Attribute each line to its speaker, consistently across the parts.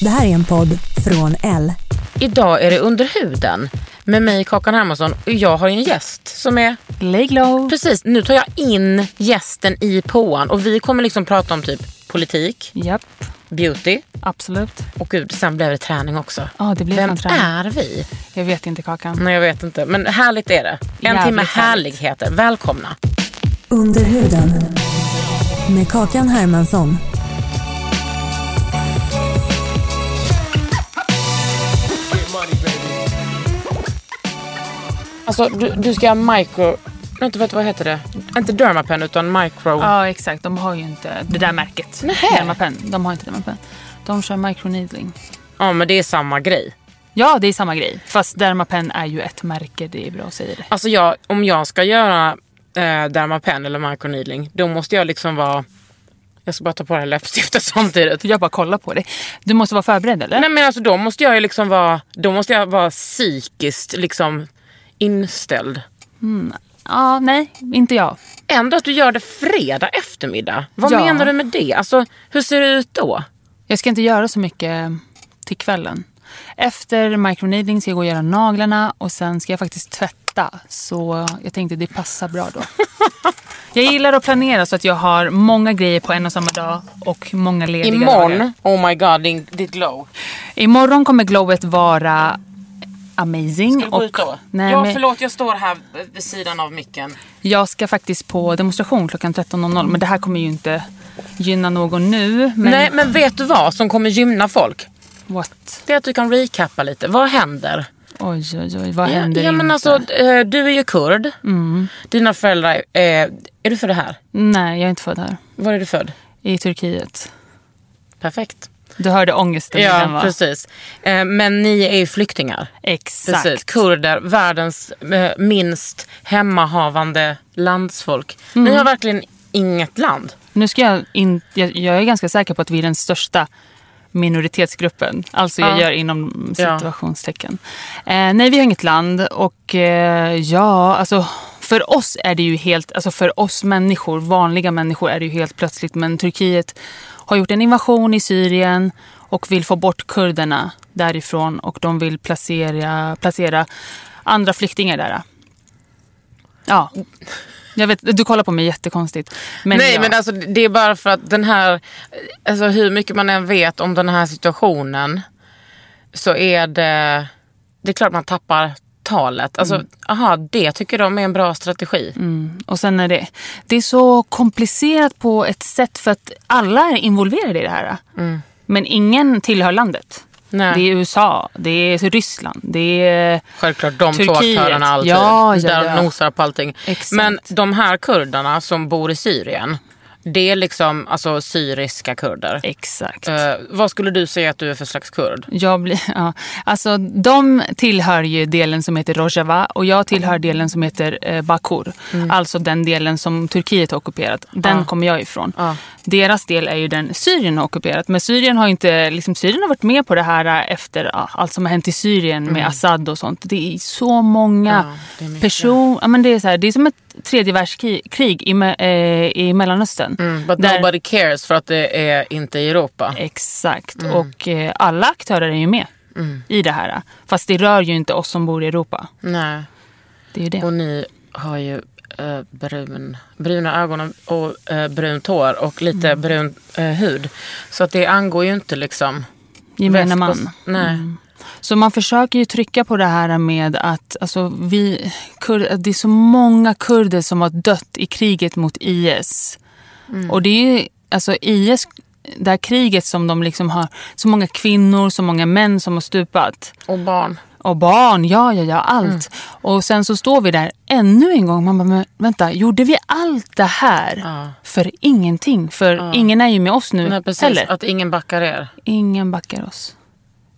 Speaker 1: Det här är en podd från L.
Speaker 2: Idag är det under huden med mig Kakan Hermansson och jag har ju en gäst som är...
Speaker 3: Lay glow.
Speaker 2: Precis, nu tar jag in gästen i påan och vi kommer liksom prata om typ politik,
Speaker 3: Japp,
Speaker 2: beauty
Speaker 3: absolut.
Speaker 2: och gud, sen blev det träning också.
Speaker 3: Ja, det blir
Speaker 2: Vem
Speaker 3: fan träning.
Speaker 2: är vi?
Speaker 3: Jag vet inte Kakan.
Speaker 2: Nej, jag vet inte. Men härligt är det. En
Speaker 3: Jävligt
Speaker 2: timme
Speaker 3: härligt.
Speaker 2: härligheter. Välkomna.
Speaker 1: Under huden. Med Kakan Hermansson.
Speaker 2: Alltså, du, du ska göra micro... Jag inte vet vad heter det? Inte dermapen utan micro...
Speaker 3: Ja, exakt. De har ju inte det där märket.
Speaker 2: Nähä.
Speaker 3: Dermapen. De har inte Dermapen. De kör microneedling.
Speaker 2: Ja, men det är samma grej.
Speaker 3: Ja, det är samma grej. Fast Dermapen är ju ett märke. Det är bra att säga det.
Speaker 2: Alltså jag, om jag ska göra eh, dermapen eller microneedling, då måste jag liksom vara... Jag ska bara ta på det här läppstiftet samtidigt.
Speaker 3: Jag bara kollar på dig. Du måste vara förberedd eller?
Speaker 2: Nej men alltså då måste jag ju liksom vara... Då måste jag vara psykiskt liksom inställd.
Speaker 3: Ja, nej, inte jag.
Speaker 2: Ändå att du gör det fredag eftermiddag. Vad
Speaker 3: Ja.
Speaker 2: menar du med det? Alltså, hur ser det ut då?
Speaker 3: Jag ska inte göra så mycket till kvällen. Efter microneedling ska jag gå och göra naglarna och sen ska jag faktiskt tvätta. Så jag tänkte det passar bra då. Jag gillar att planera så att jag har många grejer på en och samma dag och många lediga dagar.
Speaker 2: Imorgon, oh my god, din, ditt glow.
Speaker 3: Imorgon kommer glowet vara amazing.
Speaker 2: Ska du gå ut då?
Speaker 3: nej,
Speaker 2: ja,
Speaker 3: men
Speaker 2: förlåt, jag står här eh, vid sidan av micken.
Speaker 3: jag ska faktiskt på demonstration klockan 13.00 men det här kommer ju inte gynna någon nu. Men
Speaker 2: Nej, men vet du vad som kommer gynna folk?
Speaker 3: what?
Speaker 2: Det är att du kan recappa lite. Vad händer?
Speaker 3: Oj, oj, oj. Vad händer
Speaker 2: ja, men
Speaker 3: inte? Mm.
Speaker 2: alltså, eh, Du är ju kurd. Dina föräldrar... Är, eh, är du född här?
Speaker 3: Nej, jag är inte född här.
Speaker 2: Var är du född?
Speaker 3: I Turkiet.
Speaker 2: Perfekt.
Speaker 3: Du hörde ångesten i den
Speaker 2: Ja,
Speaker 3: va?
Speaker 2: precis. Eh, Men ni är ju flyktingar.
Speaker 3: Exakt.
Speaker 2: Precis. Kurder, världens eh, minst hemmahavande landsfolk.
Speaker 3: Mm.
Speaker 2: Ni har verkligen inget land.
Speaker 3: Nu ska jag, in, jag, jag är ganska säker på att vi är den största minoritetsgruppen. Alltså jag
Speaker 2: Ja.
Speaker 3: gör inom
Speaker 2: Ja.
Speaker 3: situationstecken. Eh, nej, vi har inget land och eh, ja, alltså för oss är det ju helt, alltså för oss människor, vanliga människor är det ju helt plötsligt, men Turkiet har gjort en invasion i Syrien och vill få bort kurderna därifrån och de vill placera, placera andra flyktingar där. Ja. Jag vet, du kollar på mig jättekonstigt. Men
Speaker 2: Nej,
Speaker 3: ja.
Speaker 2: men alltså, det är bara för att den här... Alltså, hur mycket man än vet om den här situationen så är det... Det är klart man tappar talet. Alltså,
Speaker 3: Mm.
Speaker 2: aha, det tycker de är en bra strategi.
Speaker 3: Och sen är det, det är så komplicerat på ett sätt för att alla är involverade i det här. Men ingen tillhör landet.
Speaker 2: Nej.
Speaker 3: Det är USA, det är Ryssland, det är... eh,
Speaker 2: Självklart de två
Speaker 3: Turkiet.
Speaker 2: aktörerna alltid.
Speaker 3: Ja, ja,
Speaker 2: där
Speaker 3: ja.
Speaker 2: nosar på allting.
Speaker 3: Exakt.
Speaker 2: Men de här kurderna som bor i Syrien, det är liksom alltså, syriska kurder.
Speaker 3: Exakt.
Speaker 2: Eh, vad skulle du säga att du är för slags kurd?
Speaker 3: Jag blir, ja. Alltså, de tillhör ju delen som heter Rojava och jag tillhör
Speaker 2: Mm.
Speaker 3: delen som heter eh, Bakur. Alltså den delen som Turkiet har ockuperat. Den kommer jag ifrån.
Speaker 2: Ja.
Speaker 3: Deras del är ju den Syrien har ockuperat. Men Syrien har, inte, liksom, Syrien har varit med på det här eh, efter ja, allt som har hänt i Syrien med Assad och sånt. Det är så många
Speaker 2: Mm. det är mycket.
Speaker 3: personer. Ja, men det, är så här, det är som ett tredje världskrig krig i, me- eh, i Mellanöstern. världen.
Speaker 2: Mm, but
Speaker 3: Där-
Speaker 2: nobody cares för att det är inte i Europa.
Speaker 3: Exakt. Och eh, alla aktörer är ju med i det här. Fast det rör ju inte oss som bor i Europa.
Speaker 2: Nej.
Speaker 3: Det är ju det.
Speaker 2: Och ni har ju eh, brun, bruna ögon och eh, brunt hår och lite
Speaker 3: Mm.
Speaker 2: brun eh, hud. Så att det angår ju inte liksom
Speaker 3: Gemene
Speaker 2: väst-
Speaker 3: man. Mm.
Speaker 2: Nej.
Speaker 3: Så man försöker ju trycka på det här med att alltså, vi, kur, att det är så många kurder som har dött i kriget mot IS. Och det är ju alltså IS, det här kriget som de liksom har, så många kvinnor, så många män som har stupat.
Speaker 2: Och barn.
Speaker 3: Och barn, ja, ja, ja,
Speaker 2: Mm.
Speaker 3: allt. Och sen så står vi där ännu en gång. Man bara, men vänta, gjorde vi allt det här
Speaker 2: Ja.
Speaker 3: för ingenting? För ingen är ju med oss nu
Speaker 2: Nej, precis.
Speaker 3: heller.
Speaker 2: Att ingen backar er.
Speaker 3: Ingen backar oss.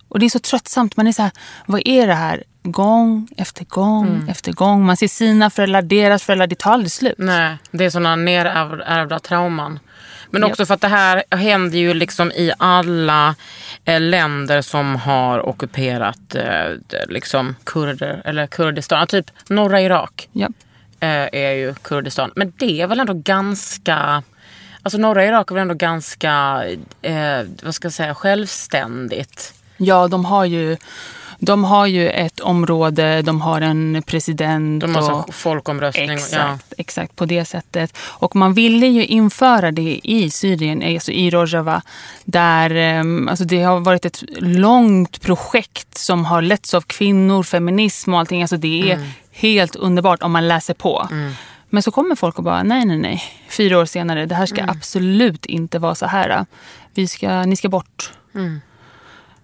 Speaker 3: Och det är så tröttsamt. Man är så här, vad är det här? Gång efter gång
Speaker 2: Mm.
Speaker 3: efter gång. Man ser sina föräldrar, deras föräldrar. Det tar aldrig slut.
Speaker 2: Nej, det är sådana nerärvda trauman. Men också för att det här händer ju liksom i alla eh, länder som har ockuperat eh, d- liksom kurder eller Kurdistan. Typ norra Irak
Speaker 3: Ja.
Speaker 2: eh, är ju Kurdistan. Men det är väl ändå ganska... Alltså norra Irak är väl ändå ganska, eh, vad ska jag säga, självständigt.
Speaker 3: ja, de har ju... De har ju ett område, de har en president.
Speaker 2: De har
Speaker 3: och-
Speaker 2: så folkomröstning. och- Ja.
Speaker 3: Exakt, exakt på det sättet. Och man ville ju införa det i Syrien, alltså i Rojava. Där, eh, alltså det har varit ett långt projekt som har letts av kvinnor, feminism och allting. Alltså det
Speaker 2: Mm.
Speaker 3: är helt underbart om man läser på. Men så kommer folk och bara, nej, nej, nej. Fyra år senare, det här
Speaker 2: Mm.
Speaker 3: ska absolut inte vara så här. Vi ska, ni ska bort.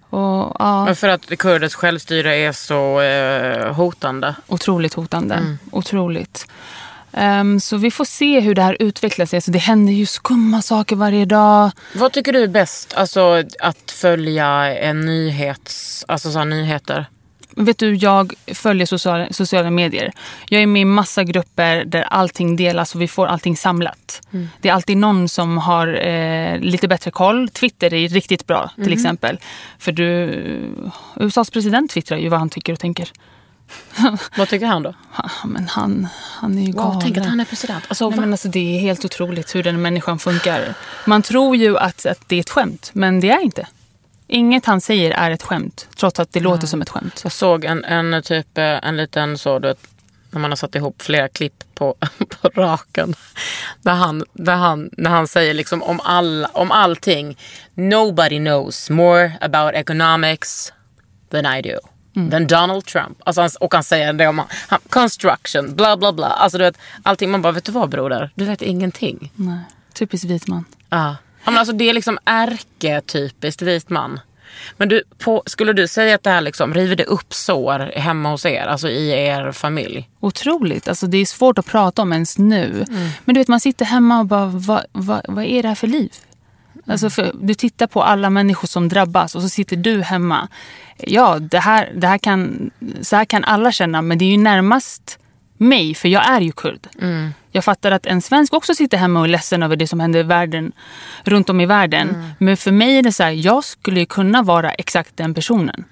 Speaker 3: Och, ja.
Speaker 2: Mm. Men för att kurders självstyre är så eh, hotande.
Speaker 3: Otroligt hotande.
Speaker 2: Mm.
Speaker 3: Otroligt. Ehm, så vi får se hur det här utvecklar sig. Alltså, det händer ju skumma saker varje dag.
Speaker 2: Vad tycker du är bäst? Alltså att följa en nyhets... Alltså så här, nyheter.
Speaker 3: Vet du, jag följer sociala, sociala medier. Jag är med i massa grupper där allting delas och vi får allting samlat.
Speaker 2: Mm.
Speaker 3: Det är alltid någon som har eh, lite bättre koll. Twitter är riktigt bra
Speaker 2: Mm-hmm.
Speaker 3: till exempel. För du, eh, USAs president twittrar ju vad han tycker och tänker.
Speaker 2: Vad tycker han då?
Speaker 3: Ha, men han, han är ju galen.
Speaker 2: Wow, tänk att han är president. Alltså,
Speaker 3: Nej, men alltså, det är helt otroligt hur den människan funkar. Man tror ju att, att det är ett skämt, men det är inte. Inget han säger är ett skämt, trots att det låter som ett skämt.
Speaker 2: Jag såg en, en typ, eh, en liten så, du vet, när man har satt ihop flera klipp på, på raken. Där han, där han, när han säger liksom om, all, om allting. Nobody knows more about economics than I do. Than Donald Trump. Alltså han, och han säger det om han, construction, bla bla bla. Alltså du vet, allting. Man bara, vet du vad broder? Du vet ingenting.
Speaker 3: Nej. Typiskt vit man.
Speaker 2: Ja. ja men alltså det är liksom ärketypiskt vit man. Men du, på, skulle du säga att det här liksom river det upp sår hemma hos er, alltså i er familj?
Speaker 3: Otroligt. Alltså, det är svårt att prata om ens nu. Men du vet, man sitter hemma och bara, vad, vad, vad är det här för liv? Alltså för, du tittar på alla människor som drabbas och så sitter du hemma. Ja, det här, det här kan, så här kan alla känna, men det är ju närmast mig, för jag är ju kurd. Jag fattar att en svensk också sitter hemma och är ledsen över det som händer i världen, runt om i världen. Men för mig är det så här, jag skulle ju kunna vara exakt den personen.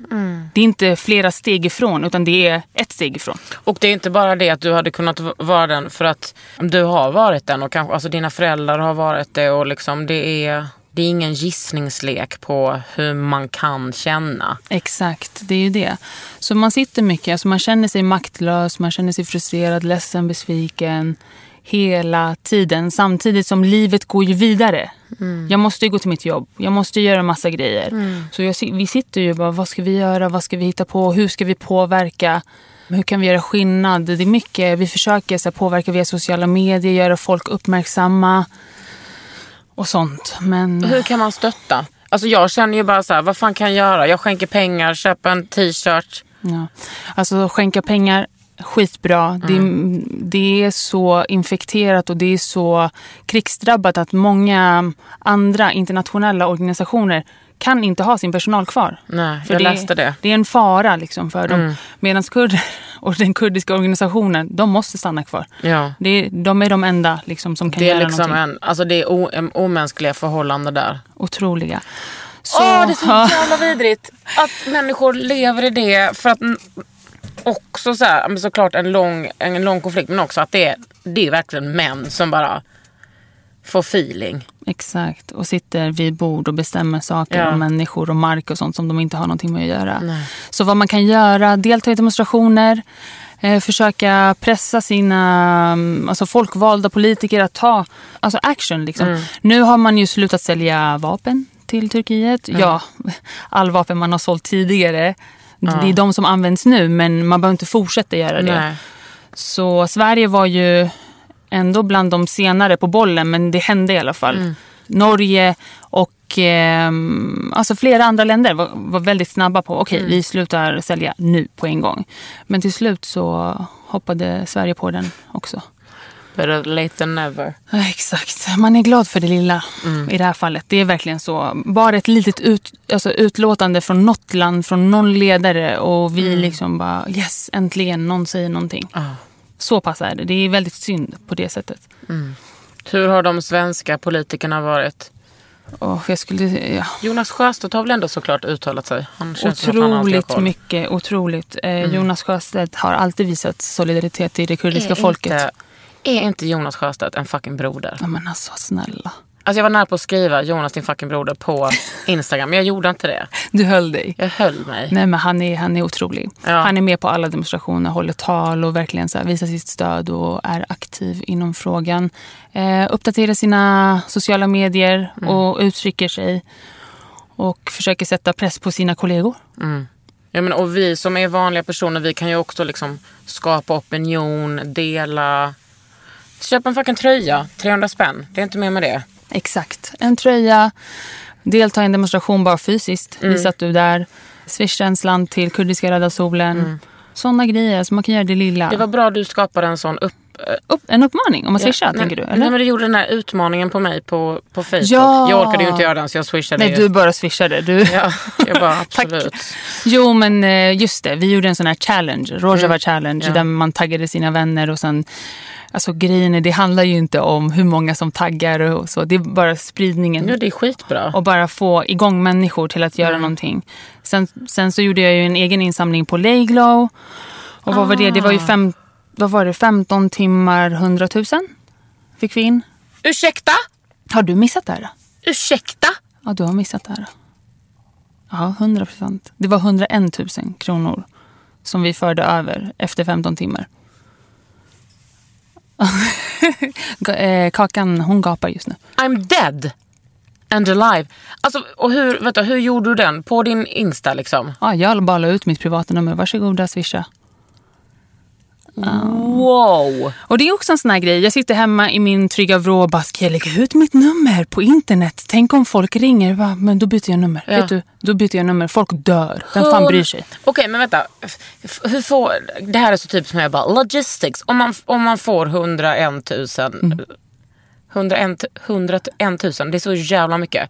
Speaker 3: Det är inte flera steg ifrån, utan det är ett steg ifrån.
Speaker 2: Och det är inte bara det att du hade kunnat v- vara den för att du har varit den och kanske alltså dina föräldrar har varit det och liksom det är, det är ingen gissningslek på hur man kan känna.
Speaker 3: Exakt, det är ju det. Så man sitter mycket, alltså man känner sig maktlös, man känner sig frustrerad, ledsen, besviken hela tiden. Samtidigt som livet går ju vidare. Jag måste ju gå till mitt jobb, jag måste ju göra massa grejer. Så jag, si- vi sitter ju bara, vad ska vi göra, vad ska vi hitta på, hur ska vi påverka? Hur kan vi göra skillnad? Det är mycket, vi försöker så här, påverka via sociala medier, göra folk uppmärksamma och sånt. Men...
Speaker 2: Hur kan man stötta? Alltså jag känner ju bara så här, vad fan kan jag göra? Jag skänker pengar, köper en t-shirt.
Speaker 3: Ja. Alltså skänka pengar, skitbra.
Speaker 2: Mm.
Speaker 3: Det, det är så infekterat och det är så krigsdrabbat att många andra internationella organisationer kan inte ha sin personal kvar.
Speaker 2: Nej, jag läste det. Mm.
Speaker 3: Det är en fara liksom för dem. Medan kurder och den kurdiska organisationen, de måste stanna kvar.
Speaker 2: Ja.
Speaker 3: Det är, de är de enda liksom, som kan
Speaker 2: Det är
Speaker 3: göra
Speaker 2: liksom
Speaker 3: någonting.
Speaker 2: en, alltså det är o, en omänskliga förhållanden där.
Speaker 3: Otroliga. Så,
Speaker 2: Åh, det är så jävla vidrigt att människor lever i det. För att n- också så här, men såklart en lång, en lång konflikt men också att det är, det är verkligen män som bara få feeling.
Speaker 3: Exakt, och sitter vid bord och bestämmer saker
Speaker 2: Ja.
Speaker 3: om människor och mark och sånt som de inte har någonting med att göra. Så vad man kan göra, delta i demonstrationer, eh, försöka pressa sina mm, alltså folkvalda politiker att ta alltså action. Liksom.
Speaker 2: Mm.
Speaker 3: Nu har man ju slutat sälja vapen till Turkiet.
Speaker 2: Mm.
Speaker 3: Ja, all vapen man har sålt tidigare, det är de som används nu men man behöver inte fortsätta göra det.
Speaker 2: Nej.
Speaker 3: Så Sverige var ju ändå bland de senare på bollen, men det hände i alla fall. Norge och ehm, alltså flera andra länder var, var väldigt snabba på okej, vi slutar sälja nu på en gång. Men till slut så hoppade Sverige på den också.
Speaker 2: Better late than never.
Speaker 3: Ja, Exakt. Man är glad för det lilla
Speaker 2: Mm.
Speaker 3: i det här fallet. Det är verkligen så. Bara ett litet ut, alltså utlåtande från något land, från någon ledare och
Speaker 2: Mm.
Speaker 3: vi liksom bara yes, äntligen någon säger någonting.
Speaker 2: Ja.
Speaker 3: Så pass är det. Det är väldigt synd på det sättet.
Speaker 2: Hur har de svenska politikerna varit?
Speaker 3: Och jag skulle, ja,
Speaker 2: Jonas Sjöstedt har väl ändå såklart uttalat sig? Han känns som att han alltid har
Speaker 3: otroligt
Speaker 2: koll. Mm.
Speaker 3: mycket, otroligt. Eh, Jonas Sjöstedt har alltid visat solidaritet till det kurdiska folket.
Speaker 2: Inte, Eh, är inte Jonas Sjöstedt en fucking broder?
Speaker 3: Ja, men alltså snälla.
Speaker 2: Alltså jag var nära på att skriva Jonas din fucking broder på Instagram, men jag gjorde inte det.
Speaker 3: Du höll dig.
Speaker 2: Jag höll mig.
Speaker 3: Nej, men han är, han är otrolig.
Speaker 2: Ja.
Speaker 3: Han är med på alla demonstrationer, håller tal och verkligen så här, visar sitt stöd och är aktiv inom frågan. Eh, uppdaterar sina sociala medier
Speaker 2: Mm.
Speaker 3: och uttrycker sig. Och försöker sätta press på sina kollegor.
Speaker 2: Ja, men, och vi som är vanliga personer, vi kan ju också liksom skapa opinion, dela. Köp en fucking tröja, 300 spänn. Det är inte mer med det.
Speaker 3: Exakt. En tröja, delta i en demonstration bara fysiskt.
Speaker 2: Mm.
Speaker 3: Visa att du är där. Swisha en slant till Kurdiska Röda Solen. Sådana grejer, så man kan göra det lilla.
Speaker 2: Mm. Det var bra du skapade en sån upp... eh,
Speaker 3: Upp, en uppmaning om man swishar,
Speaker 2: nej,
Speaker 3: tänker du? Eller?
Speaker 2: Nej men du gjorde den här utmaningen på mig på, på Facebook.
Speaker 3: Ja.
Speaker 2: Jag orkade ju inte göra den så jag swishade
Speaker 3: Nej,
Speaker 2: ju.
Speaker 3: du bara swishade. Du.
Speaker 2: Ja, jag bara
Speaker 3: Tack.
Speaker 2: absolut.
Speaker 3: Jo, men eh, just det. Vi gjorde en sån här challenge, Rojava challenge,
Speaker 2: Mm. Ja.
Speaker 3: där man taggade sina vänner och sen... Alltså grejen är, det handlar ju inte om hur många som taggar och så. Det är bara spridningen.
Speaker 2: Ja, Mm. det är skitbra.
Speaker 3: Och bara få igång människor till att göra någonting. Sen, sen så gjorde jag ju en egen insamling på Layglow. Och vad var det? Det var
Speaker 2: Ah.
Speaker 3: ju fem, vad var det? 15 timmar, 100 000 fick vi in.
Speaker 2: Ursäkta?
Speaker 3: Har du missat det här? då?
Speaker 2: Ursäkta?
Speaker 3: Ja, du har missat det här. Ja, 100 procent. Det var 101 000 kronor som vi förde över efter 15 timmar. Ga- eh, Kakan, hon gapar just nu.
Speaker 2: I'm dead and alive. Alltså, och hur, vänta, hur gjorde du den? På din Insta liksom?
Speaker 3: Ja, jag bara la ut mitt privata nummer. Varsågoda, swisha.
Speaker 2: Wow!
Speaker 3: Och det är också en sån här grej. Jag sitter hemma i min trygga vrå och bara, ska jag lägga ut mitt nummer på internet? Tänk om folk ringer. Va? Men då byter jag nummer. Vet du, då byter jag nummer. Folk dör. Vem fan bryr sig?
Speaker 2: Okej, men vänta. F- f- Hur får, det här är så typiskt mig. bara, Logistics. Om man, om man får 101 000.
Speaker 3: Mm.
Speaker 2: 101, 101 000, det är så jävla mycket.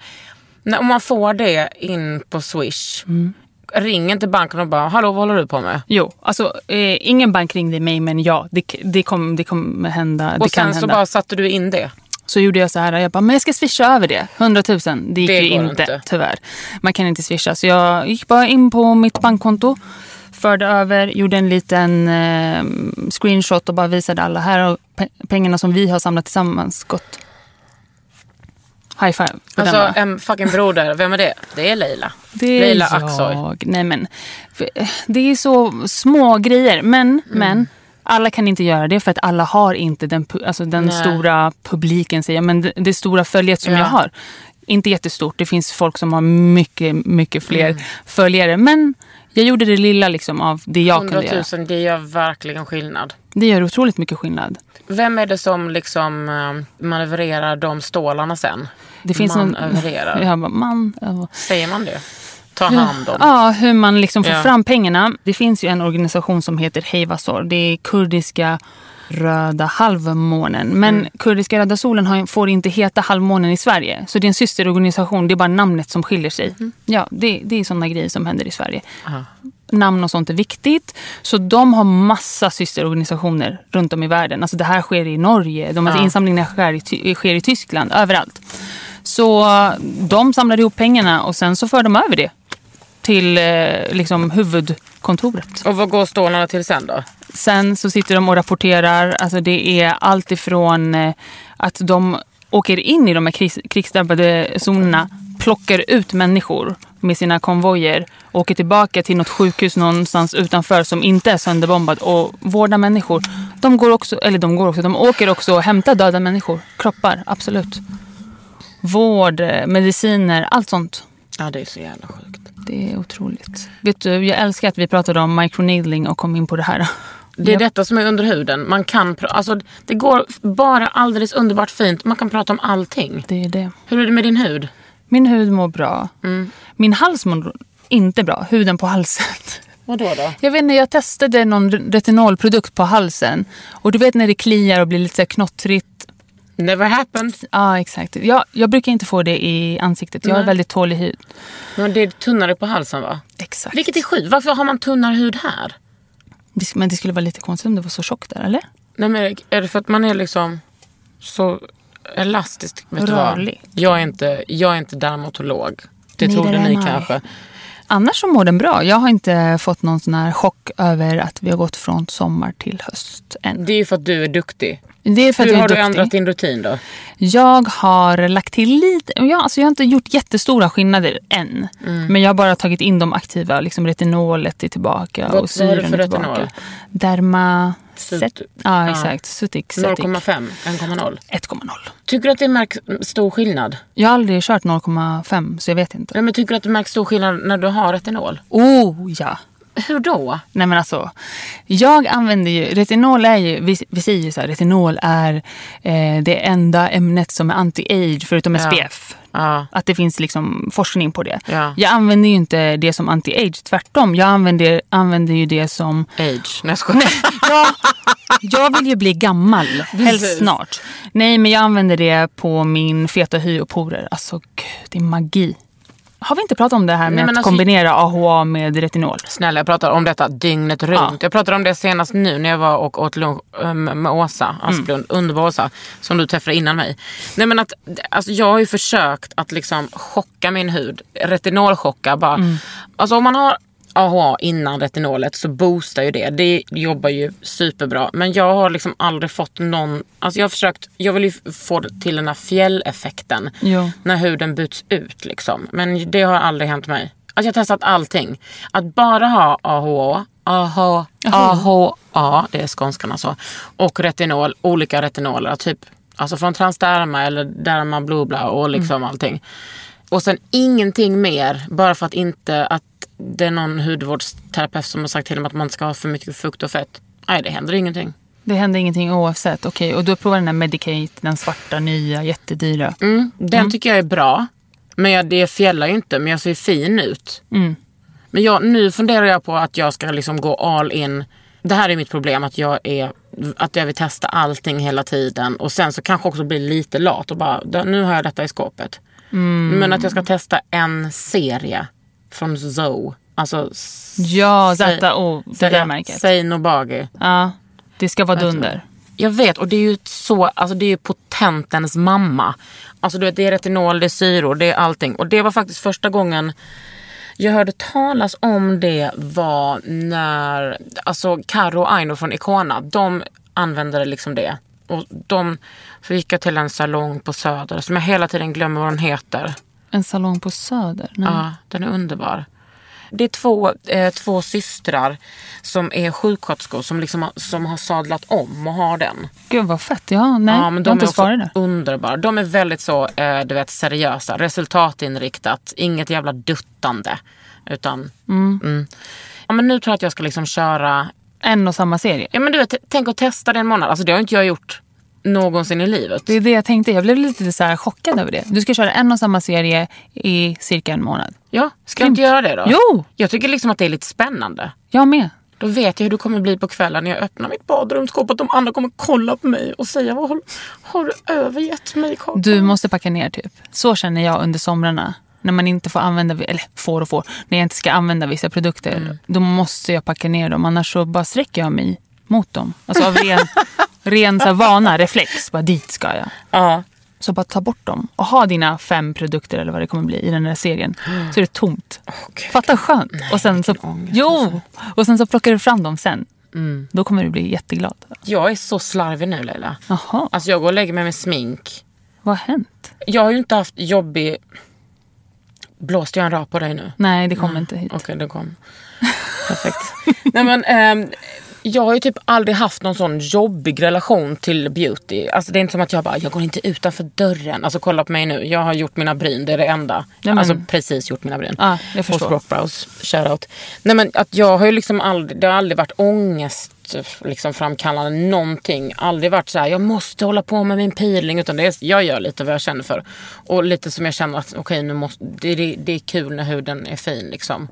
Speaker 2: När, om man får det in på Swish.
Speaker 3: Mm.
Speaker 2: Ring inte banken och bara, hallå vad håller du på med?
Speaker 3: Jo, alltså eh, ingen bank ringde mig men ja, det, k- det kommer det kom hända. det
Speaker 2: Och
Speaker 3: kan
Speaker 2: sen
Speaker 3: hända.
Speaker 2: så bara satte du in det.
Speaker 3: Så gjorde jag så här, jag bara, men jag ska swisha över det. 100 000, det gick
Speaker 2: Det
Speaker 3: ju
Speaker 2: går
Speaker 3: inte,
Speaker 2: inte.
Speaker 3: tyvärr. Man kan inte swisha. Så jag gick bara in på mitt bankkonto, förde över, gjorde en liten eh, screenshot och bara visade alla. Här har pe- pengarna som vi har samlat tillsammans gått. High five. på den, va?
Speaker 2: Alltså en fucking broder, vem är det? Det är Leila.
Speaker 3: Det är
Speaker 2: Leila
Speaker 3: jag.
Speaker 2: Aksoy.
Speaker 3: Nej, men, för, eh, det är så små grejer. Men,
Speaker 2: Mm.
Speaker 3: men alla kan inte göra det för att alla har inte den, pu- alltså den
Speaker 2: Nej.
Speaker 3: stora publiken, säger jag, men det, det stora följet som
Speaker 2: Ja.
Speaker 3: jag har. Inte jättestort, det finns folk som har mycket, mycket fler
Speaker 2: Mm.
Speaker 3: följare. Men jag gjorde det lilla liksom av det jag
Speaker 2: 100
Speaker 3: kunde göra.
Speaker 2: 000, det gör verkligen skillnad.
Speaker 3: Det gör otroligt mycket skillnad.
Speaker 2: Vem är det som liksom eh, manövrerar de stålarna sen?
Speaker 3: Det finns
Speaker 2: Manövrerar.
Speaker 3: någon... Jag bara, man över.
Speaker 2: Säger man det? Ta hand om.
Speaker 3: Ja, hur man liksom får
Speaker 2: Ja.
Speaker 3: fram pengarna. Det finns ju en organisation som heter Hejvasor. Det är kurdiska röda halvmånen. Men kurdiska röda solen har, får inte heta halvmånen i Sverige. Så det är en systerorganisation. Det är bara namnet som skiljer sig. Ja, det, det är sådana grejer som händer i Sverige. Namn och sånt är viktigt. Så de har massa systerorganisationer runt om i världen. Alltså det här sker i Norge. De, alltså Insamlingarna sker i, Ty- sker i Tyskland. Överallt. Så eh, de samlade ihop pengarna och sen så för de över det till eh, liksom, huvudkontoret.
Speaker 2: Och vad går stålarna till sen då?
Speaker 3: Sen så sitter de och rapporterar. Alltså det är allt ifrån eh, att de åker in i de här kris, krigsdrabbade zonerna, plockar ut människor med sina konvojer och åker tillbaka till något sjukhus någonstans utanför som inte är sönderbombat och vårdar människor. De går också, eller de går också, de åker också och hämtar döda människor. Kroppar, absolut. Vård, eh, mediciner, allt sånt.
Speaker 2: Ja, det är så jävla sjukt.
Speaker 3: Det är otroligt. Vet du, jag älskar att vi pratade om microneedling och kom in på det här.
Speaker 2: Det är detta som är under huden. Man kan pra- alltså, det går bara alldeles underbart fint. Man kan prata om allting.
Speaker 3: Det är det.
Speaker 2: Hur är det med din hud? Mm.
Speaker 3: Min hud mår bra. Min hals mår inte bra. Huden på halsen.
Speaker 2: Vadå då?
Speaker 3: Jag vet inte, jag testade någon retinolprodukt på halsen. Och du vet när det kliar och blir lite så här knottrigt.
Speaker 2: Never happened.
Speaker 3: Ja, exakt. Jag, jag brukar inte få det i ansiktet. Jag har väldigt tålig hud.
Speaker 2: Men det är tunnare på halsen va?
Speaker 3: Exakt.
Speaker 2: Vilket är sjukt. Varför har man tunnare hud här?
Speaker 3: Det- Men det skulle vara lite konstigt om det var så tjockt där, eller?
Speaker 2: Nej, men är det för att man är liksom så elastisk? Vet du vad?
Speaker 3: Rörlig.
Speaker 2: Jag är inte, jag är inte dermatolog. Det
Speaker 3: Nej, det
Speaker 2: trodde
Speaker 3: är
Speaker 2: ni
Speaker 3: man.
Speaker 2: kanske.
Speaker 3: Annars så mår den bra. Jag har inte fått någon sån här chock över att vi har gått från sommar till höst än.
Speaker 2: Det är ju för att du är duktig.
Speaker 3: Det är för att
Speaker 2: Hur
Speaker 3: jag
Speaker 2: har
Speaker 3: är
Speaker 2: du
Speaker 3: duktig.
Speaker 2: ändrat din rutin då?
Speaker 3: Jag har lagt till lite. Jag, alltså jag har inte gjort jättestora skillnader än.
Speaker 2: Mm.
Speaker 3: Men jag har bara tagit in de aktiva. Liksom retinolet är tillbaka
Speaker 2: Vad-
Speaker 3: och
Speaker 2: vad har du
Speaker 3: syren
Speaker 2: för
Speaker 3: är tillbaka.
Speaker 2: retinol?
Speaker 3: Derma...
Speaker 2: Sut-
Speaker 3: Ja,
Speaker 2: ja.
Speaker 3: exakt. Sutic. Cetic.
Speaker 2: 0,5? 1,0?
Speaker 3: 1,0.
Speaker 2: Tycker du att det märks stor skillnad?
Speaker 3: Jag har aldrig kört 0,5 så jag vet inte.
Speaker 2: Nej, men tycker du att det märks stor skillnad när du har retinol?
Speaker 3: Oh ja!
Speaker 2: Hur då?
Speaker 3: Nej men alltså, jag använder ju, retinol är ju, vi, vi säger ju så här, retinol är eh, det enda ämnet som är anti-age förutom SPF.
Speaker 2: Ja.
Speaker 3: Att det finns liksom forskning på det.
Speaker 2: Ja.
Speaker 3: Jag använder ju inte det som anti-age, tvärtom. Jag använder, använder ju det som...
Speaker 2: Age. Nej, jag skojar.
Speaker 3: Ja, jag vill ju bli gammal, helst
Speaker 2: Precis.
Speaker 3: snart. Nej, men jag använder det på min feta hy och porer. Alltså, gud, det är magi. Har vi inte pratat om det här med
Speaker 2: Nej, men
Speaker 3: att
Speaker 2: alltså-
Speaker 3: kombinera AHA med retinol?
Speaker 2: Snälla, jag pratar om detta dygnet runt.
Speaker 3: Ja.
Speaker 2: Jag pratade om det senast nu när jag var och åt lunch eh, med Åsa
Speaker 3: Mm.
Speaker 2: Asplund, underbar Åsa, som du träffade innan mig. Nej, men att, alltså, jag har ju försökt att liksom chocka min hud, retinolchocka. Bara.
Speaker 3: Mm.
Speaker 2: Alltså, om man har AHA innan retinolet så boostar ju det. Det jobbar ju superbra. Men jag har liksom aldrig fått någon... Alltså jag har försökt, jag vill ju f- få det till den här fjälleffekten
Speaker 3: Jo.
Speaker 2: när huden byts ut. Liksom. Men det har aldrig hänt mig. Alltså jag har testat allting. Att bara ha AHA, AHA, AHA, det är skånskarna så, och retinol, olika retinoler. Typ alltså från Transderma eller Derma Blue Bla och liksom allting. Och sen ingenting mer, bara för att inte att det är någon hudvårdsterapeut som har sagt till dem att man ska ha för mycket fukt och fett. Nej, det händer ingenting.
Speaker 3: Det hände ingenting oavsett. Okej, och du provar den här Medicate, den svarta, nya, jättedyra.
Speaker 2: Mm, den tycker jag är bra. Men jag, det fjällar ju inte, men jag ser fin ut.
Speaker 3: Mm.
Speaker 2: Men jag, nu funderar jag på att jag ska liksom gå all in. Det här är mitt problem, att jag, är, att jag vill testa allting hela tiden. Och sen så kanske också bli lite lat och bara, "Där- nu har jag detta i skåpet.
Speaker 3: Mm.
Speaker 2: Men att jag ska testa en serie från Zoe. Alltså, s-
Speaker 3: Ja,
Speaker 2: Säg-
Speaker 3: ZO, det där märket.
Speaker 2: Say Nobagi.
Speaker 3: Ja, det ska vara dunder.
Speaker 2: Jag vet och det är ju så, alltså det är ju potentens mamma. Alltså du vet det är retinol, det är syror, det är allting. Och det var faktiskt första gången jag hörde talas om det var när, alltså Karo och Aino från Icona, de använde liksom det. Och de, så gick jag till en salong på Söder som jag hela tiden glömmer vad den heter.
Speaker 3: En salong på Söder? Nej.
Speaker 2: Ja, den är underbar. Det är två, eh, två systrar som är sjuksköterskor som, liksom, har- som har sadlat om och har den.
Speaker 3: Gud vad fett. Ja, nej.
Speaker 2: Ja, men de
Speaker 3: jag har
Speaker 2: är
Speaker 3: inte
Speaker 2: också
Speaker 3: svarat där.
Speaker 2: underbara. De är väldigt så, eh, du vet, seriösa, resultatinriktat, inget jävla duttande. Utan, mm. Ja, men nu tror jag att jag ska liksom köra,
Speaker 3: En och samma serie.
Speaker 2: ja men du vet, tänk att testa det en månad. Alltså det har inte jag gjort någonsin i livet.
Speaker 3: Det är det jag tänkte. Jag blev lite så här chockad över det. Du ska köra en och samma serie i cirka en månad.
Speaker 2: Ja, ska jag inte göra det då?
Speaker 3: Jo!
Speaker 2: Jag tycker liksom att det är lite spännande.
Speaker 3: Jag med.
Speaker 2: Då vet jag hur du kommer bli på kvällen när jag öppnar mitt badrumsskåp. Att de andra kommer kolla på mig och säga, vad har, har du övergett mig Kakan?
Speaker 3: Du måste packa ner typ. Så känner jag under somrarna. När man inte får använda, eller får och får, när jag inte ska använda vissa produkter. Då måste jag packa ner dem, annars så bara sträcker jag mig mot dem. Alltså av ren, ren så här vana, reflex. Bara dit ska jag.
Speaker 2: Ja.
Speaker 3: Så bara ta bort dem och ha dina fem produkter eller vad det kommer bli i den där serien. Så är det tomt.
Speaker 2: Gud.
Speaker 3: Fatta skönt. och sen så,
Speaker 2: alltså.
Speaker 3: jo, och sen så plockar du fram dem sen.
Speaker 2: Mm.
Speaker 3: Då kommer du bli jätteglad.
Speaker 2: Jag är så slarvig nu Leila.
Speaker 3: Jaha.
Speaker 2: Alltså jag går och lägger mig med smink.
Speaker 3: Vad har hänt?
Speaker 2: Jag har ju inte haft jobbig... Blåste jag en rap på dig nu?
Speaker 3: Nej, det kom inte hit.
Speaker 2: Okej, den kom. Perfekt. Nej, men, ehm, jag har ju typ aldrig haft någon sån jobbig relation till beauty. Alltså, det är inte som att jag bara, jag går inte utanför dörren. Alltså kolla på mig nu, jag har gjort mina bryn, det är det enda.
Speaker 3: men-
Speaker 2: Alltså precis gjort mina bryn.
Speaker 3: Ja, jag förstår.
Speaker 2: Hos Rockbrows, shoutout. Nej men att jag har ju liksom aldrig, det har aldrig varit ångest liksom framkallande någonting. Aldrig varit så här, jag måste hålla på med min peeling. Utan det är, jag gör lite vad jag känner för. Och lite som jag känner att okej nu måste, det, det, det är kul när huden är fin liksom.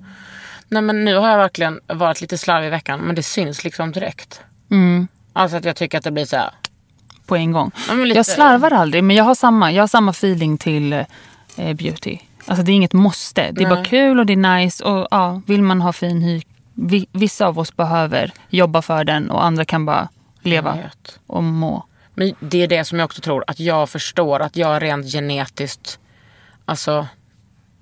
Speaker 2: Nej men nu har jag verkligen varit lite slarvig i veckan men det syns liksom direkt.
Speaker 3: Mm,
Speaker 2: Alltså att jag tycker att det blir så här.
Speaker 3: på en gång.
Speaker 2: Ja, men lite-
Speaker 3: Jag slarvar aldrig, men jag har samma, jag har samma feeling till eh, beauty. Alltså det är inget måste. Det är bara kul och det är nice. Och ja, Vill man ha fin hy, vi, vissa av oss behöver jobba för den och andra kan bara leva
Speaker 2: Jag vet.
Speaker 3: och må.
Speaker 2: Men det är det som jag också tror, att jag förstår att jag rent genetiskt alltså,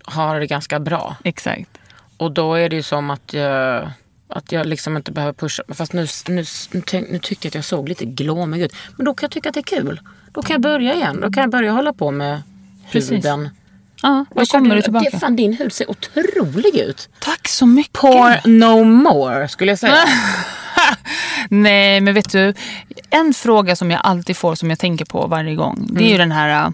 Speaker 2: har det ganska bra.
Speaker 3: Exakt.
Speaker 2: Och då är det ju som att jag, att jag liksom inte behöver pusha. Fast nu, nu, nu, tänk- nu tyckte jag att jag såg lite glåmig ut. Men då kan jag tycka att det är kul. Då kan jag börja igen. Då kan jag börja hålla på med
Speaker 3: Precis.
Speaker 2: huden.
Speaker 3: Ja, då
Speaker 2: Jag kände-
Speaker 3: kommer du
Speaker 2: Det,
Speaker 3: tillbaka.
Speaker 2: fan, din hud ser otrolig ut.
Speaker 3: Tack så mycket.
Speaker 2: Or no more skulle jag säga.
Speaker 3: Nej, men vet du. En fråga som jag alltid får som jag tänker på varje gång. Det är
Speaker 2: Mm.
Speaker 3: ju den här. äh,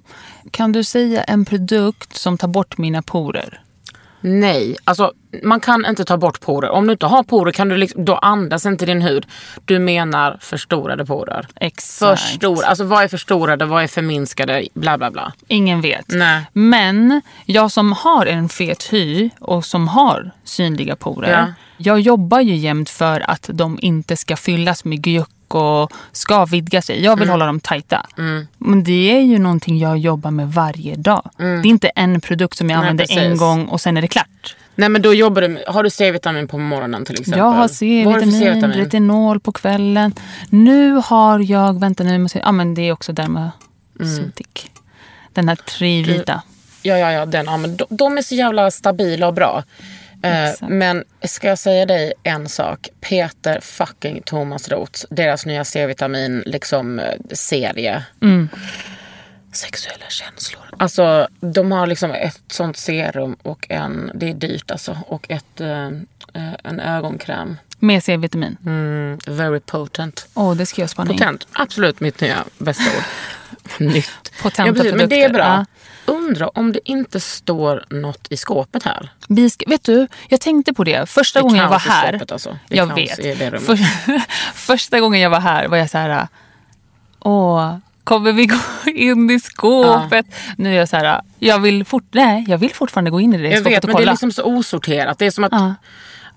Speaker 3: Kan du säga en produkt som tar bort mina porer?
Speaker 2: Nej, alltså man kan inte ta bort porer. Om du inte har porer kan du liksom, då andas inte din hud. Du menar förstorade porer.
Speaker 3: Exakt.
Speaker 2: Förstor, alltså vad är förstorade, vad är förminskade, bla bla bla.
Speaker 3: Ingen vet.
Speaker 2: Nej.
Speaker 3: Men jag som har en fet hy och som har synliga porer.
Speaker 2: Ja.
Speaker 3: Jag jobbar ju jämt för att de inte ska fyllas med gljuck och ska vidga sig. Jag vill
Speaker 2: Mm.
Speaker 3: hålla dem tajta. Men det är ju någonting jag jobbar med varje dag. Det är inte en produkt som jag
Speaker 2: Mm. Nej,
Speaker 3: använder en
Speaker 2: precis.
Speaker 3: gång och sen är det klart.
Speaker 2: Nej men då jobbar du med, har du C-vitamin på morgonen till exempel?
Speaker 3: Jag har
Speaker 2: Vad du för
Speaker 3: C-vitamin, retinol på kvällen. Nu har jag, vänta nu, måste jag, ah, men det är också Dermaceutic.
Speaker 2: Mm.
Speaker 3: Den här trivita.
Speaker 2: Ja, ja, ja, den, ja men de, de är så jävla stabila och bra. Eh,
Speaker 3: Exakt.
Speaker 2: men ska jag säga dig en sak? Peter fucking Thomas Roth, deras nya C-vitamin liksom, eh, serie.
Speaker 3: Mm.
Speaker 2: Sexuella känslor. Alltså de har liksom ett sånt serum och en, det är dyrt alltså, och ett, eh, eh, en ögonkräm.
Speaker 3: Med C-vitamin.
Speaker 2: Mm, very potent.
Speaker 3: Åh, det ska jag spana in.
Speaker 2: Potent, absolut mitt nya bästa ord. Nytt.
Speaker 3: Potenta
Speaker 2: ja, precis, men det är
Speaker 3: produkter,
Speaker 2: bra.
Speaker 3: ja.
Speaker 2: Undra om det inte står något i skåpet här.
Speaker 3: Vi ska, vet du, jag tänkte på det. Första
Speaker 2: Det är
Speaker 3: gången jag var
Speaker 2: kaos i
Speaker 3: här.
Speaker 2: skåpet, alltså. Det är
Speaker 3: Jag
Speaker 2: kaos i det
Speaker 3: vet.
Speaker 2: rummet.
Speaker 3: För, första gången jag var här var jag så här... Åh, kommer vi gå in i skåpet? Nu är jag så här... Jag vill, fort, nej, jag vill fortfarande gå in i det
Speaker 2: Jag
Speaker 3: skåpet
Speaker 2: vet,
Speaker 3: och
Speaker 2: men det
Speaker 3: kolla.
Speaker 2: är liksom så osorterat. Det är som att...
Speaker 3: Ja.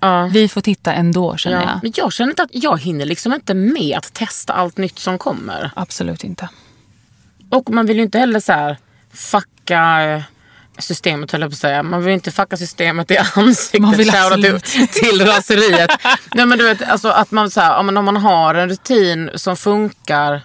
Speaker 2: Ja.
Speaker 3: Vi får titta ändå, känner
Speaker 2: Ja.
Speaker 3: jag.
Speaker 2: Men jag känner inte att jag hinner liksom inte med att testa allt nytt som kommer.
Speaker 3: Absolut inte.
Speaker 2: Och man vill ju inte heller så här fucka eh, systemet höll jag på att säga. Man vill inte fucka systemet i ansiktet.
Speaker 3: Man vill
Speaker 2: Shoutout
Speaker 3: absolut.
Speaker 2: till, till raseriet. Nej men du vet, alltså att man så här, ja, men om man har en rutin som funkar.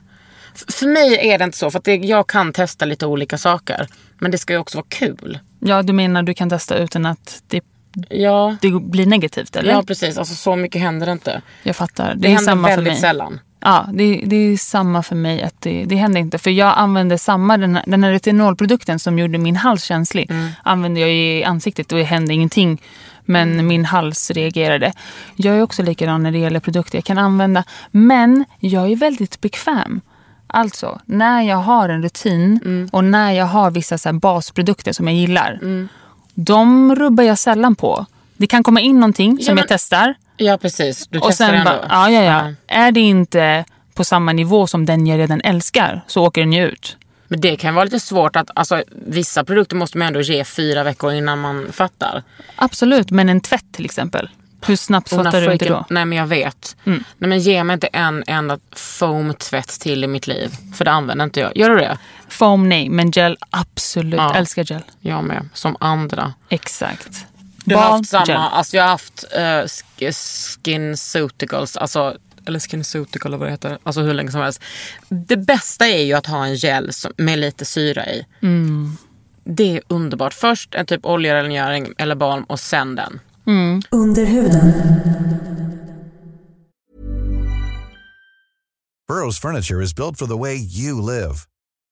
Speaker 2: F- För mig är det inte så, för att det, jag kan testa lite olika saker. Men det ska ju också vara kul.
Speaker 3: Ja, du menar du kan testa utan att det,
Speaker 2: Ja,
Speaker 3: det blir negativt, eller?
Speaker 2: ja precis. Alltså så mycket händer det inte.
Speaker 3: Jag fattar. Det,
Speaker 2: Det,
Speaker 3: är
Speaker 2: händer
Speaker 3: samma för
Speaker 2: väldigt
Speaker 3: mig.
Speaker 2: sällan.
Speaker 3: Ja, det, det är samma för mig. att Det, det händer inte. För jag använde samma, den här, den här retinolprodukten som gjorde min hals känslig använde jag i ansiktet och det hände ingenting. Men min hals reagerade. Jag är också likadan när det gäller produkter jag kan använda. Men jag är väldigt bekväm. Alltså, när jag har en rutin och när jag har vissa så här basprodukter som jag gillar. De rubbar jag sällan på. Det kan komma in någonting som
Speaker 2: men-
Speaker 3: jag testar.
Speaker 2: Ja precis, du
Speaker 3: Och
Speaker 2: testar
Speaker 3: sen
Speaker 2: ändå.
Speaker 3: bara, ja, ja, ja. Är det inte på samma nivå som den jag redan älskar så åker den ju ut.
Speaker 2: Men det kan vara lite svårt att, alltså vissa produkter måste man ändå ge fyra veckor innan man fattar.
Speaker 3: Absolut, men en tvätt till exempel. Hur snabbt
Speaker 2: Hon har
Speaker 3: fattar du inte
Speaker 2: freaking-
Speaker 3: då? Mm.
Speaker 2: Nej men jag vet. Nej men ge mig inte en enda foam-tvätt till i mitt liv. För det använder inte jag. Gör du det?
Speaker 3: Foam nej, men gel absolut.
Speaker 2: Ja.
Speaker 3: Älskar gel.
Speaker 2: Jag med. Som andra.
Speaker 3: Exakt.
Speaker 2: Jag har
Speaker 3: Bal-
Speaker 2: haft samma.
Speaker 3: gel.
Speaker 2: Alltså jag har haft uh, skinceuticals. Alltså, eller skinceutical eller vad det heter. Alltså hur länge som helst. Det bästa är ju att ha en gel som, med lite syra i.
Speaker 3: Mm.
Speaker 2: Det är underbart. Först en typ oljerengöring eller balm och sen den.
Speaker 1: Under huden.
Speaker 4: Burrow's furniture is built for the way you live.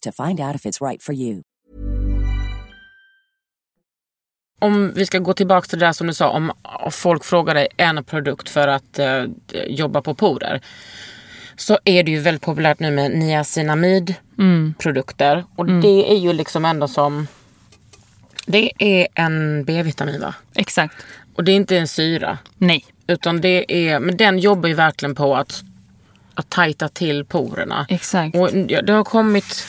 Speaker 5: to find out if it's right for you.
Speaker 2: Om vi ska gå tillbaka till det där som du sa om om folk frågar dig en produkt för att eh, jobba på porer. Så är det ju väldigt populärt nu med niacinamidprodukter. Och det är ju liksom ändå som... Det är en B-vitamin va?
Speaker 3: Exakt.
Speaker 2: Och det är inte en syra.
Speaker 3: Nej.
Speaker 2: Utan det är, men den jobbar ju verkligen på att, att tajta till porerna.
Speaker 3: Exakt.
Speaker 2: Och ja, det har kommit...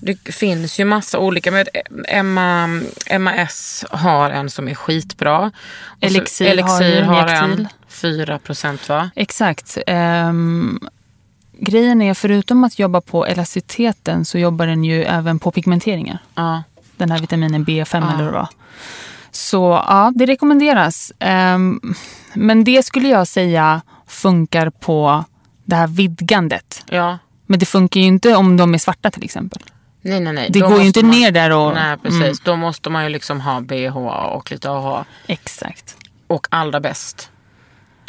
Speaker 2: Det finns ju massa olika. Men Emma, Emma S har en som är skitbra. Och så-
Speaker 3: Elixir har
Speaker 2: Elixir
Speaker 3: en,
Speaker 2: har
Speaker 3: Injektil.
Speaker 2: en. 4 procent va?
Speaker 3: Exakt. Ehm, grejen är, förutom att jobba på elasticiteten så jobbar den ju även på pigmenteringar.
Speaker 2: Ja.
Speaker 3: Den här vitaminen B5 eller vad det var. Så ja, det rekommenderas. Ehm, men det skulle jag säga funkar på det här vidgandet.
Speaker 2: ja.
Speaker 3: Men det funkar ju inte om de är svarta till exempel.
Speaker 2: Nej nej nej.
Speaker 3: Det
Speaker 2: Då
Speaker 3: går ju
Speaker 2: måste
Speaker 3: inte ner där och...
Speaker 2: Nej precis.
Speaker 3: Mm,
Speaker 2: Då måste man ju liksom ha BHA och lite AHA.
Speaker 3: exakt.
Speaker 2: Och allra bäst.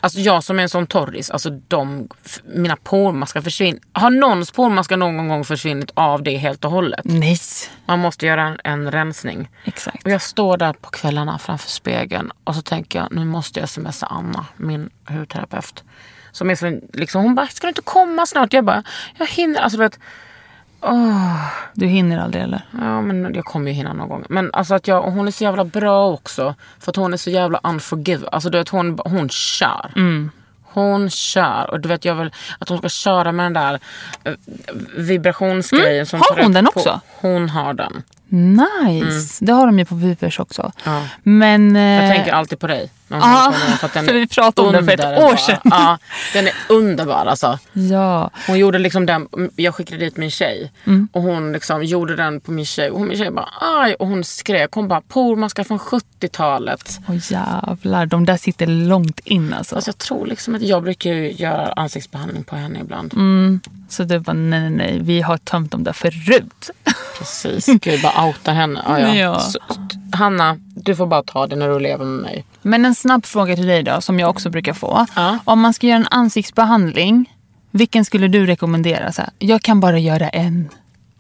Speaker 2: Alltså jag som är en sån torris, alltså de, f- mina pormaskar försvinner. Har någons pormaskar någon gång försvunnit av det helt och hållet?
Speaker 3: Nej,
Speaker 2: Man måste göra en, en rensning.
Speaker 3: exakt.
Speaker 2: Och jag står där på kvällarna framför spegeln och så tänker jag nu måste jag smsa Anna, min hudterapeut. Som är så, liksom, hon bara, ska du inte komma snart? Jag bara, jag hinner. Alltså, du vet,
Speaker 3: Du hinner aldrig eller?
Speaker 2: ja, men jag kommer ju hinna någon gång. Men alltså att jag, och hon är så jävla bra också. För att hon är så jävla unforgiving. Alltså du vet, hon, hon kör.
Speaker 3: Mm.
Speaker 2: Hon kör. Och du vet, jag vill att hon ska köra med den där eh, vibrationsgrejen.
Speaker 3: Mm.
Speaker 2: Som
Speaker 3: Har
Speaker 2: tar
Speaker 3: hon
Speaker 2: rätt
Speaker 3: den
Speaker 2: på-
Speaker 3: också?
Speaker 2: Hon har den.
Speaker 3: Nice! Det har de ju på Vipers också.
Speaker 2: Ja.
Speaker 3: Men...
Speaker 2: Jag
Speaker 3: eh,
Speaker 2: tänker alltid på dig. när hon
Speaker 3: Ja,
Speaker 2: pratar om den, den
Speaker 3: för
Speaker 2: är
Speaker 3: vi pratade om den för ett
Speaker 2: underbar.
Speaker 3: år sedan.
Speaker 2: Ja, den är underbar alltså.
Speaker 3: Ja.
Speaker 2: Hon gjorde liksom den, jag skickade dit min tjej
Speaker 3: Mm.
Speaker 2: och hon liksom gjorde den på min tjej och hon- min tjej bara aj och hon skrek. Hon bara pormaskar från 70-talet.
Speaker 3: Åh jävlar, de där sitter långt in alltså.
Speaker 2: Alltså jag tror liksom att jag brukar ju göra ansiktsbehandling på henne ibland.
Speaker 3: Mm. Så du bara nej, nej, nej, vi har tömt dem där förut.
Speaker 2: Precis, gud bara outa henne. Ja, ja.
Speaker 3: Ja.
Speaker 2: Så, Hanna, du får bara ta det när du lever med mig.
Speaker 3: Men en snabb fråga till dig då, som jag också brukar få.
Speaker 2: Ja.
Speaker 3: Om man ska göra en ansiktsbehandling, vilken skulle du rekommendera? Så här, jag kan bara göra en.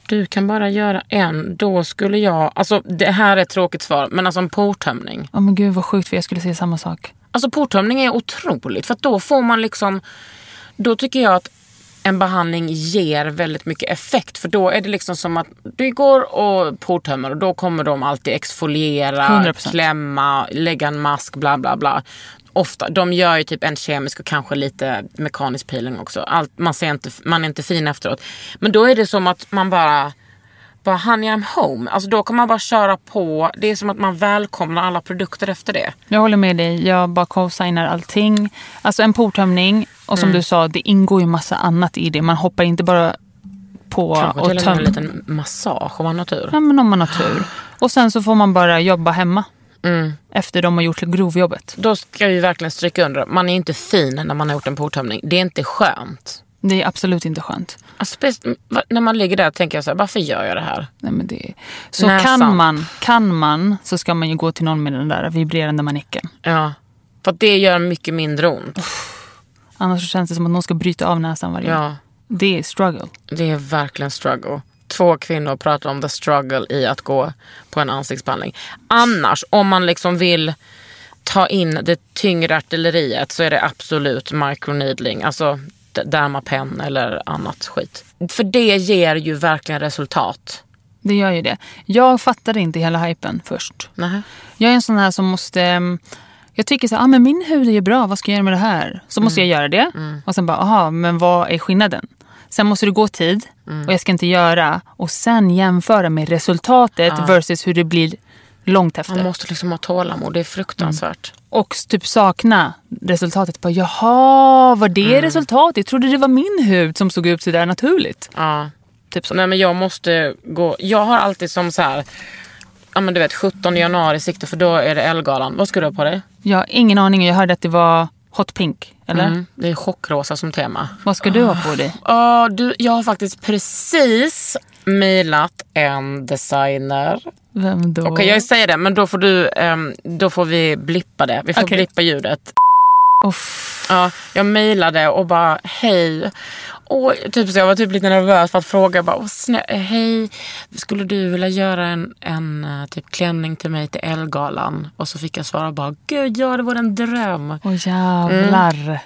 Speaker 2: Du kan bara göra en, då skulle jag, alltså det här är ett tråkigt svar, men alltså en portömning.
Speaker 3: Åh men gud vad sjukt för jag skulle säga samma sak.
Speaker 2: Alltså portömning är otroligt för att då får man liksom, då tycker jag att en behandling ger väldigt mycket effekt för då är det liksom som att du går och portömmer och då kommer de alltid exfoliera,
Speaker 3: 100%.
Speaker 2: klämma, lägga en mask, bla bla bla. Ofta, de gör ju typ en kemisk och kanske lite mekanisk peeling också. Allt, man, ser inte, man är inte fin efteråt. Men då är det som att man bara bara honey I'm home. Alltså då kan man bara köra på. Det är som att man välkomnar alla produkter efter det.
Speaker 3: Jag håller med dig, jag bara co-signar allting. Alltså en portömning, och
Speaker 2: Mm.
Speaker 3: som du sa, det ingår ju massa annat i det. Man hoppar inte bara på
Speaker 2: Kanske
Speaker 3: och
Speaker 2: till och med en
Speaker 3: tömmer.
Speaker 2: liten massage om man har tur.
Speaker 3: Ja, men om man har tur. Och sen så får man bara jobba hemma.
Speaker 2: Mm.
Speaker 3: Efter de har gjort grovjobbet.
Speaker 2: Då ska vi verkligen stryka under, man är inte fin när man har gjort en portömning. Det är inte skönt.
Speaker 3: Det är absolut inte skönt.
Speaker 2: Alltså, spec- va- när man ligger där tänker jag så här, varför gör jag det här?
Speaker 3: Nej, men det Så
Speaker 2: Näsan.
Speaker 3: kan man, kan man så ska man ju gå till någon med den där vibrerande manicken.
Speaker 2: Ja. För att det gör mycket mindre ont.
Speaker 3: Annars så känns det som att någon ska bryta av näsan varje gång.
Speaker 2: Ja,
Speaker 3: Det är struggle.
Speaker 2: det är verkligen struggle. Två kvinnor pratar om the struggle i att gå på en ansiktsbehandling. Annars, om man liksom vill ta in det tyngre artilleriet så är det absolut microneedling. Alltså d- dermapen eller annat skit. För det ger ju verkligen resultat.
Speaker 3: Det gör ju det. Jag fattade inte hela hypen först.
Speaker 2: Nähä.
Speaker 3: Jag är en sån här som måste... ehm, Jag tycker så här, ah, men min hud är ju bra, vad ska jag göra med det här? Så måste
Speaker 2: Mm.
Speaker 3: jag göra det. Och sen bara, aha, men vad är skillnaden? Sen måste det gå tid
Speaker 2: Mm.
Speaker 3: och jag ska inte göra. Och sen jämföra med resultatet versus hur det blir långt efter.
Speaker 2: Man måste liksom ha tålamod, det är fruktansvärt.
Speaker 3: Och typ sakna resultatet. Bara, Jaha, var
Speaker 2: Mm.
Speaker 3: det resultatet? Jag trodde det var min hud som såg ut sådär naturligt.
Speaker 2: Ja.
Speaker 3: Typ så.
Speaker 2: Nej men jag måste gå, jag har alltid som så här, ja men du vet 17 januari i sikte för då är det Ellegalan. Vad ska du ha på dig?
Speaker 3: Jag har ingen aning. Jag hörde att det var hot pink. Eller?
Speaker 2: Mm, Ah. Det är chockrosa som tema.
Speaker 3: Vad ska du ha på dig?
Speaker 2: Ja, du, jag har faktiskt precis mejlat en designer.
Speaker 3: Vem då?
Speaker 2: Okej jag säger det men då får du, ehm, då får vi blippa det. Vi får
Speaker 3: Okej.
Speaker 2: blippa ljudet.
Speaker 3: Uff.
Speaker 2: Ja, jag mejlade och bara hej. Och typ så jag var typ lite nervös för att fråga. Jag Bara, "Åh, snä- eh, hej, skulle du vilja göra en, en eh, typ klänning till mig till Ellegalan? Och så fick jag svara bara, gud ja det vore en dröm.
Speaker 3: Åh jävlar.
Speaker 2: Mm.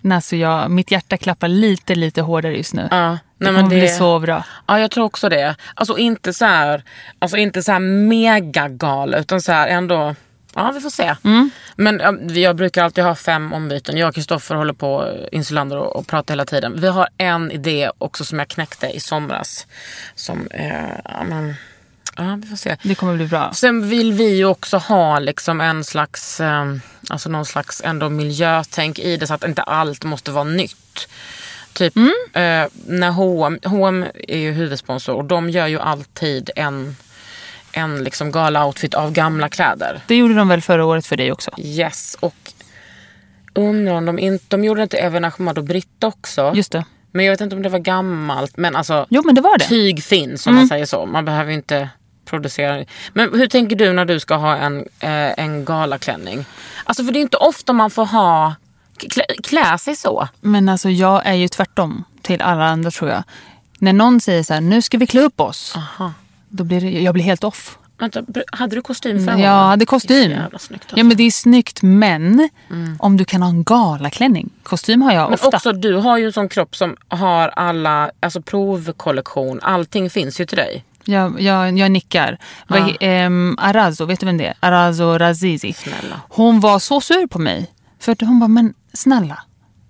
Speaker 3: Nej, så jag, mitt hjärta klappar lite, lite hårdare just nu.
Speaker 2: Ja,
Speaker 3: det
Speaker 2: nej,
Speaker 3: kommer
Speaker 2: men det,
Speaker 3: bli så bra.
Speaker 2: ja, jag tror också det. Alltså inte så här, alltså, inte så här megagal utan så här ändå, ja vi får se. Men ja, vi- jag brukar alltid ha fem ombyten. Jag och Kristoffer håller på eh, Insulander och, och pratar hela tiden. Vi har en idé också som jag knäckte i somras. Som, eh, ja, men, ja vi får se.
Speaker 3: Det kommer bli bra.
Speaker 2: Sen vill vi ju också ha liksom en slags, eh, alltså någon slags ändå miljötänk i det så att inte allt måste vara nytt. Typ eh, när H&M, H&M är ju huvudsponsor och de gör ju alltid en, en liksom gala-outfit av gamla kläder.
Speaker 3: Det gjorde de väl förra året för dig också?
Speaker 2: Yes, och undrar om de inte, de gjorde inte Evin Ahmad och Britt också.
Speaker 3: Just det.
Speaker 2: Men jag vet inte om det var gammalt, men alltså
Speaker 3: Jo, men det var det. Mm.
Speaker 2: tyg finns om man säger så. Man behöver ju inte producera. Men hur tänker du när du ska ha en, eh, en galaklänning? Alltså för det är inte ofta man får ha klä, klä sig så.
Speaker 3: Men alltså jag är ju tvärtom till alla andra tror jag. När någon säger så här, nu ska vi klä upp oss. Då blir det, jag blir helt off.
Speaker 2: Vänta, br- hade du kostym förra
Speaker 3: Jag
Speaker 2: gången?
Speaker 3: hade kostym.
Speaker 2: Det är så jävla snyggt alltså. Mm.
Speaker 3: ja, men det är snyggt, men om du kan ha en galaklänning. Kostym har jag
Speaker 2: Men
Speaker 3: ofta.
Speaker 2: också du har ju en sån kropp som har alla, alltså provkollektion, allting finns ju till dig.
Speaker 3: Jag, jag, jag nickar. Vad he- ehm, Arazo, vet du vem det är? Arazo Razizi.
Speaker 2: Snälla.
Speaker 3: Hon var så sur på mig. För att hon bara, men snälla.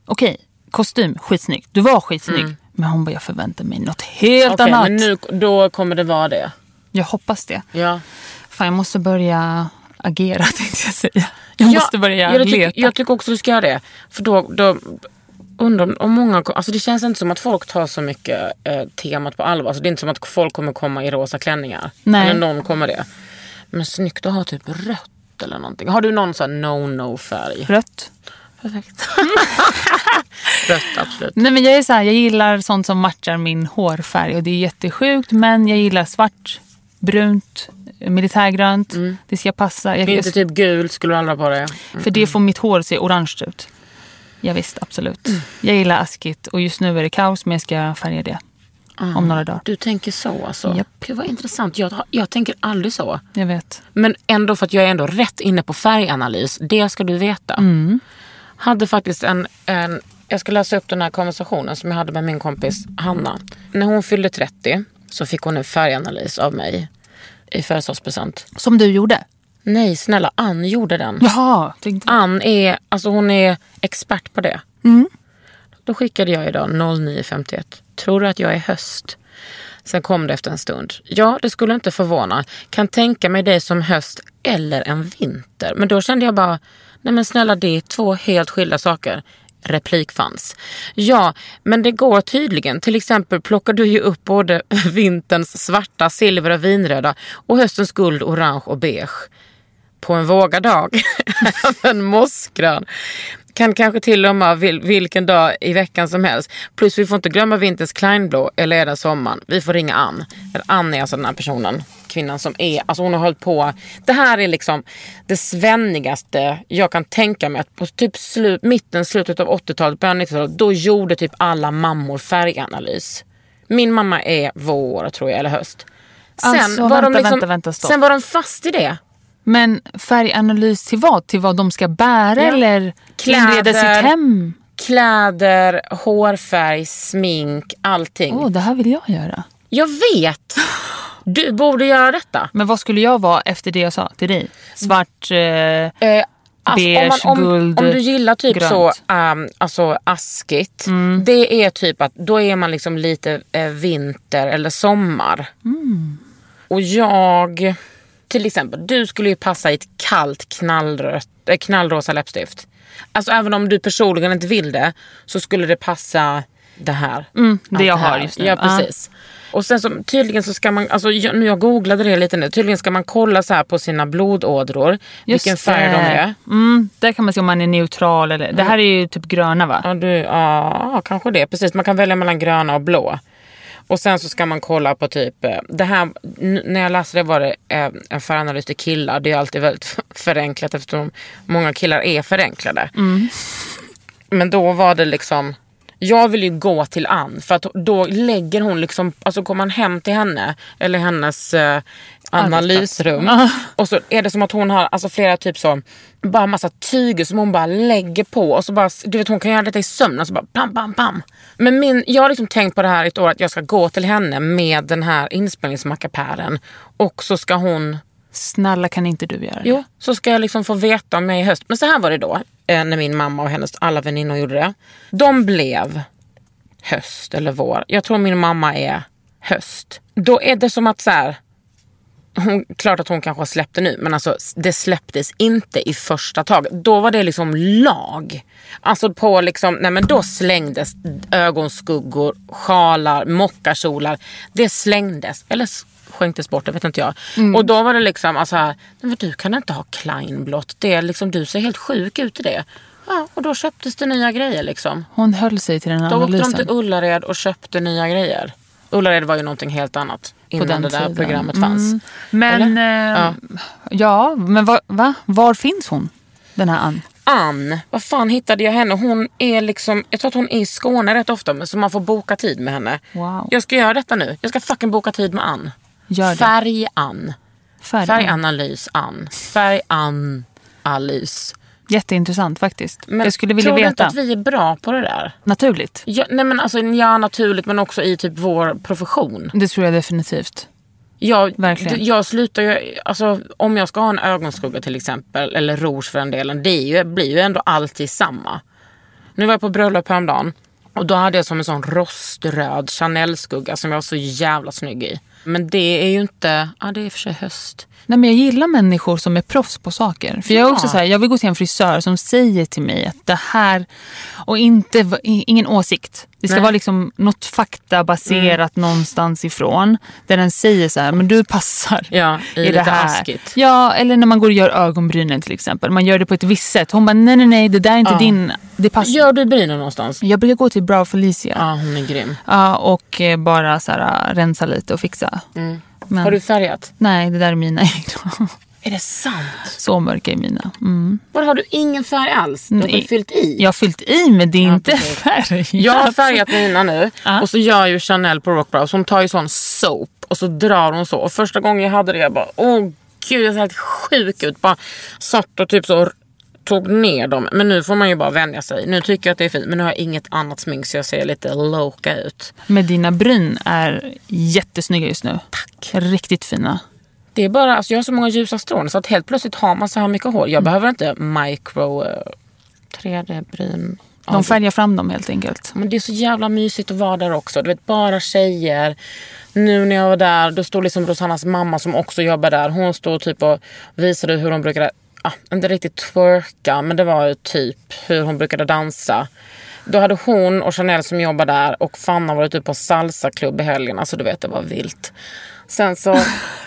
Speaker 3: Okej, kostym, skitsnygg. Du var skitsnygg. Men hon bara, jag förväntar mig något helt
Speaker 2: Mm. Okej,
Speaker 3: annat.
Speaker 2: men nu, då kommer det vara det.
Speaker 3: Jag hoppas det.
Speaker 2: Ja.
Speaker 3: Fan, jag måste börja agera tänkte jag säga. Jag måste börja
Speaker 2: jag,
Speaker 3: leta.
Speaker 2: tycker, jag tycker också du ska göra det. För då, då undrar om- om många... Alltså det känns inte som att folk tar så mycket eh, temat på allvar. Alltså det är inte som att folk kommer komma i rosa klänningar.
Speaker 3: Nej.
Speaker 2: Eller någon kommer det. Men snyggt att ha typ rött eller någonting. Har du någon sån här no-no-färg?
Speaker 3: Rött.
Speaker 2: Perfekt. rött, absolut.
Speaker 3: Nej, men jag, är så här, jag gillar sånt som matchar min hårfärg. Och Det är jättesjukt, men jag gillar svart, brunt, militärgrönt. Det ska passa. Jag,
Speaker 2: Mm. Inte
Speaker 3: jag,
Speaker 2: typ gult skulle du aldrig ha på dig.
Speaker 3: för det får mitt hår att se orange ut. Ja, visst, absolut.
Speaker 2: Mm.
Speaker 3: Jag gillar askigt och just nu är det kaos, men jag ska färga det
Speaker 2: Ah.
Speaker 3: om några dagar.
Speaker 2: Du tänker så alltså?
Speaker 3: Japp.
Speaker 2: Gud vad intressant. Jag, jag tänker aldrig så.
Speaker 3: Jag vet.
Speaker 2: Men ändå för att jag är ändå rätt inne på färganalys. Det ska du veta. Hade faktiskt en, en... Jag ska läsa upp den här konversationen som jag hade med min kompis Hanna. När hon fyllde 30 så fick hon en färganalys av mig i födelsedagspresent.
Speaker 3: Som du gjorde.
Speaker 2: Nej snälla, Ann gjorde den.
Speaker 3: Jaha, tänkte jag.
Speaker 2: Ann är, alltså hon är expert på det. Då skickade jag idag 09.51. Tror du att jag är höst? Sen kom det efter en stund. Ja, det skulle inte förvåna. Kan tänka mig dig som höst eller en vinter. Men då kände jag bara, nej men snälla det är två helt skilda saker. Replik fanns. Ja, men det går tydligen. Till exempel plockar du ju upp både vinterns svarta, silver och vinröda och höstens guld, orange och beige på en vågadag. Även mossgrön. Kan kanske till och med vil, vilken dag i veckan som helst. Plus vi får inte glömma vinterns Kleinblå eller är det sommaren. Vi får ringa Ann. För Ann är alltså den här personen, kvinnan som är, alltså hon har hållit på. Det här är liksom det svennigaste jag kan tänka mig. Att på typ slut, mitten, slutet av 80-talet, början av 90-talet, då gjorde typ alla mammor färganalys. Min mamma är vår tror jag, eller höst. Sen,
Speaker 3: Alltså,
Speaker 2: var de
Speaker 3: vänta,
Speaker 2: liksom,
Speaker 3: vänta, vänta, stopp.
Speaker 2: sen var de fast i det.
Speaker 3: Men färganalys till vad? Till vad de ska bära
Speaker 2: Ja.
Speaker 3: eller
Speaker 2: Kläder.
Speaker 3: inreda sitt hem?
Speaker 2: Kläder, hårfärg, smink, allting.
Speaker 3: Åh, det här vill jag göra.
Speaker 2: Jag vet! Du borde göra detta.
Speaker 3: Men vad skulle jag vara efter det jag sa till dig? Svart... Eh,
Speaker 2: Eh, om,
Speaker 3: Beige,
Speaker 2: man, om,
Speaker 3: guld,
Speaker 2: om du gillar typ
Speaker 3: grönt. Mm.
Speaker 2: så ehm, alltså askigt. Det är typ att då är man liksom lite eh, vinter eller sommar.
Speaker 3: Mm.
Speaker 2: Och jag, till exempel, du skulle ju passa i ett kallt knallrött, eh, knallrosa läppstift. Alltså även om du personligen inte vill det så skulle det passa det här.
Speaker 3: Mm, det
Speaker 2: Allt
Speaker 3: jag har
Speaker 2: här.
Speaker 3: just nu.
Speaker 2: Ja,
Speaker 3: Ja.
Speaker 2: precis. Och sen så, tydligen så ska man, alltså jag, nu jag googlade det lite nu, tydligen ska man kolla så här på sina blodådror,
Speaker 3: just
Speaker 2: vilken färg de
Speaker 3: det.
Speaker 2: är. Mm.
Speaker 3: Mm, där kan man se om man är neutral eller... Det här är ju typ gröna va?
Speaker 2: Ja, du, ja, kanske det. Precis, man kan välja mellan gröna och blå. Och sen så ska man kolla på typ, eh, det här, n- när jag läste det var det eh, en färganalys till killar. Det är ju alltid väldigt förenklat eftersom många killar är förenklade. Men då var det liksom, jag vill ju gå till Ann för att då lägger hon liksom, alltså kommer man hem till henne eller hennes eh, analysrum och så är det som att hon har alltså flera typ så, bara massa tyger som hon bara lägger på och så bara, du vet hon kan göra detta i sömnen så bara pam pam pam. Men min, jag har liksom tänkt på det här i ett år att jag ska gå till henne med den här inspelningsmackapären och så ska hon
Speaker 3: Snälla kan inte du göra det?
Speaker 2: Jo, så ska jag liksom få veta om jag är höst. Men så här var det då, eh, när min mamma och hennes alla väninnor gjorde det. De blev höst eller vår. Jag tror min mamma är höst. Då är det som att så här, hon, klart att hon kanske har släppt det nu, men alltså det släpptes inte i första taget. Då var det liksom lag. Alltså på liksom, nej men då slängdes ögonskuggor, sjalar, mockakjolar. Det slängdes, eller s- skänktes bort, det vet inte jag.
Speaker 3: Mm.
Speaker 2: Och då var det liksom, alltså här, nej men du kan inte ha kleinblått. Det är liksom, du ser helt sjuk ut i det. Ja, och då köptes det nya grejer liksom.
Speaker 3: Hon höll sig till den
Speaker 2: Då åkte
Speaker 3: analysen.
Speaker 2: de till Ullared och köpte nya grejer. Ullared var ju någonting helt annat innan det där
Speaker 3: tiden.
Speaker 2: programmet fanns.
Speaker 3: Mm. Men, eh,
Speaker 2: Ja.
Speaker 3: ja. men va, va? var finns hon? Den här Ann?
Speaker 2: Ann, vad fan hittade jag henne? Hon är liksom, jag tror att hon är i Skåne rätt ofta men så man får boka tid med henne.
Speaker 3: Wow.
Speaker 2: Jag ska göra detta nu. Jag ska fucking boka tid med Ann.
Speaker 3: Gör det.
Speaker 2: Färg-Ann.
Speaker 3: Färg.
Speaker 2: Färganalys-Ann. Färg-Ann-Alys.
Speaker 3: Jätteintressant faktiskt. jag skulle vilja
Speaker 2: tror du inte
Speaker 3: veta.
Speaker 2: att vi är bra på det där?
Speaker 3: Naturligt.
Speaker 2: Ja, nej men alltså, ja, naturligt men också i typ vår profession.
Speaker 3: Det tror jag definitivt.
Speaker 2: Jag,
Speaker 3: Verkligen.
Speaker 2: d- jag slutar ju, alltså, om jag ska ha en ögonskugga till exempel, eller rouge för den delen, det är ju, blir ju ändå alltid samma. Nu var jag på bröllop häromdagen och då hade jag som en sån roströd Chanel-skugga som jag var så jävla snygg i. Men det är ju inte, ja det är i och för sig höst.
Speaker 3: Nej, men jag gillar människor som är proffs på saker. För Jag är också så här, jag vill gå till en frisör som säger till mig att det här... Och inte, va- i- ingen åsikt. Det ska
Speaker 2: Nej. Mm.
Speaker 3: vara liksom något faktabaserat någonstans ifrån. Där den säger så här, men du passar
Speaker 2: Ja, i
Speaker 3: i
Speaker 2: lite
Speaker 3: det här.
Speaker 2: askigt.
Speaker 3: Ja, eller när man går och gör ögonbrynen till exempel. Man gör det på ett visst sätt. Hon bara, nej nej nej, det där är inte
Speaker 2: Ja.
Speaker 3: din... Det passar.
Speaker 2: Gör du brynen någonstans?
Speaker 3: Jag brukar gå till Brow Felicia
Speaker 2: Ja, hon är grym.
Speaker 3: Ja, och eh, bara så här, eh, rensa lite och fixa. Men,
Speaker 2: Mm. Har du färgat?
Speaker 3: Nej, det där är mina egna.
Speaker 2: Är det sant?
Speaker 3: Så mörka är mina. Mm.
Speaker 2: Var har du ingen färg alls? Du har
Speaker 3: Nej.
Speaker 2: fyllt i?
Speaker 3: Jag har fyllt i men det är inte
Speaker 2: precis.
Speaker 3: färg.
Speaker 2: Jag har färgat mina nu
Speaker 3: Alltså- Ja.
Speaker 2: och så gör ju Chanel på Rockbrows. Hon tar ju sån soap och så drar hon så. Och första gången jag hade det jag bara åh gud jag ser helt sjuk ut. Bara satt och typ så r- tog ner dem. Men nu får man ju bara vänja sig. Nu tycker jag att det är fint men nu har jag inget annat smink så jag ser lite loka ut.
Speaker 3: Men dina bryn är jättesnygga just nu. Tack. Riktigt fina.
Speaker 2: Det är bara, alltså jag har så många ljusa strån så att helt plötsligt har man så här mycket hår. Jag behöver inte micro eh, 3D-bryn.
Speaker 3: De färgar fram dem helt enkelt.
Speaker 2: Men det är så jävla mysigt att vara där också. Du vet, bara tjejer. Nu när jag var där, då stod liksom Rosannas mamma som också jobbar där. Hon stod typ och visade hur hon brukade, ah, inte riktigt twerka, men det var ju typ hur hon brukade dansa. Då hade hon och Chanel som jobbar där och Fanna varit ute på salsaklubb i helgen. Alltså du vet, det var vilt. Sen så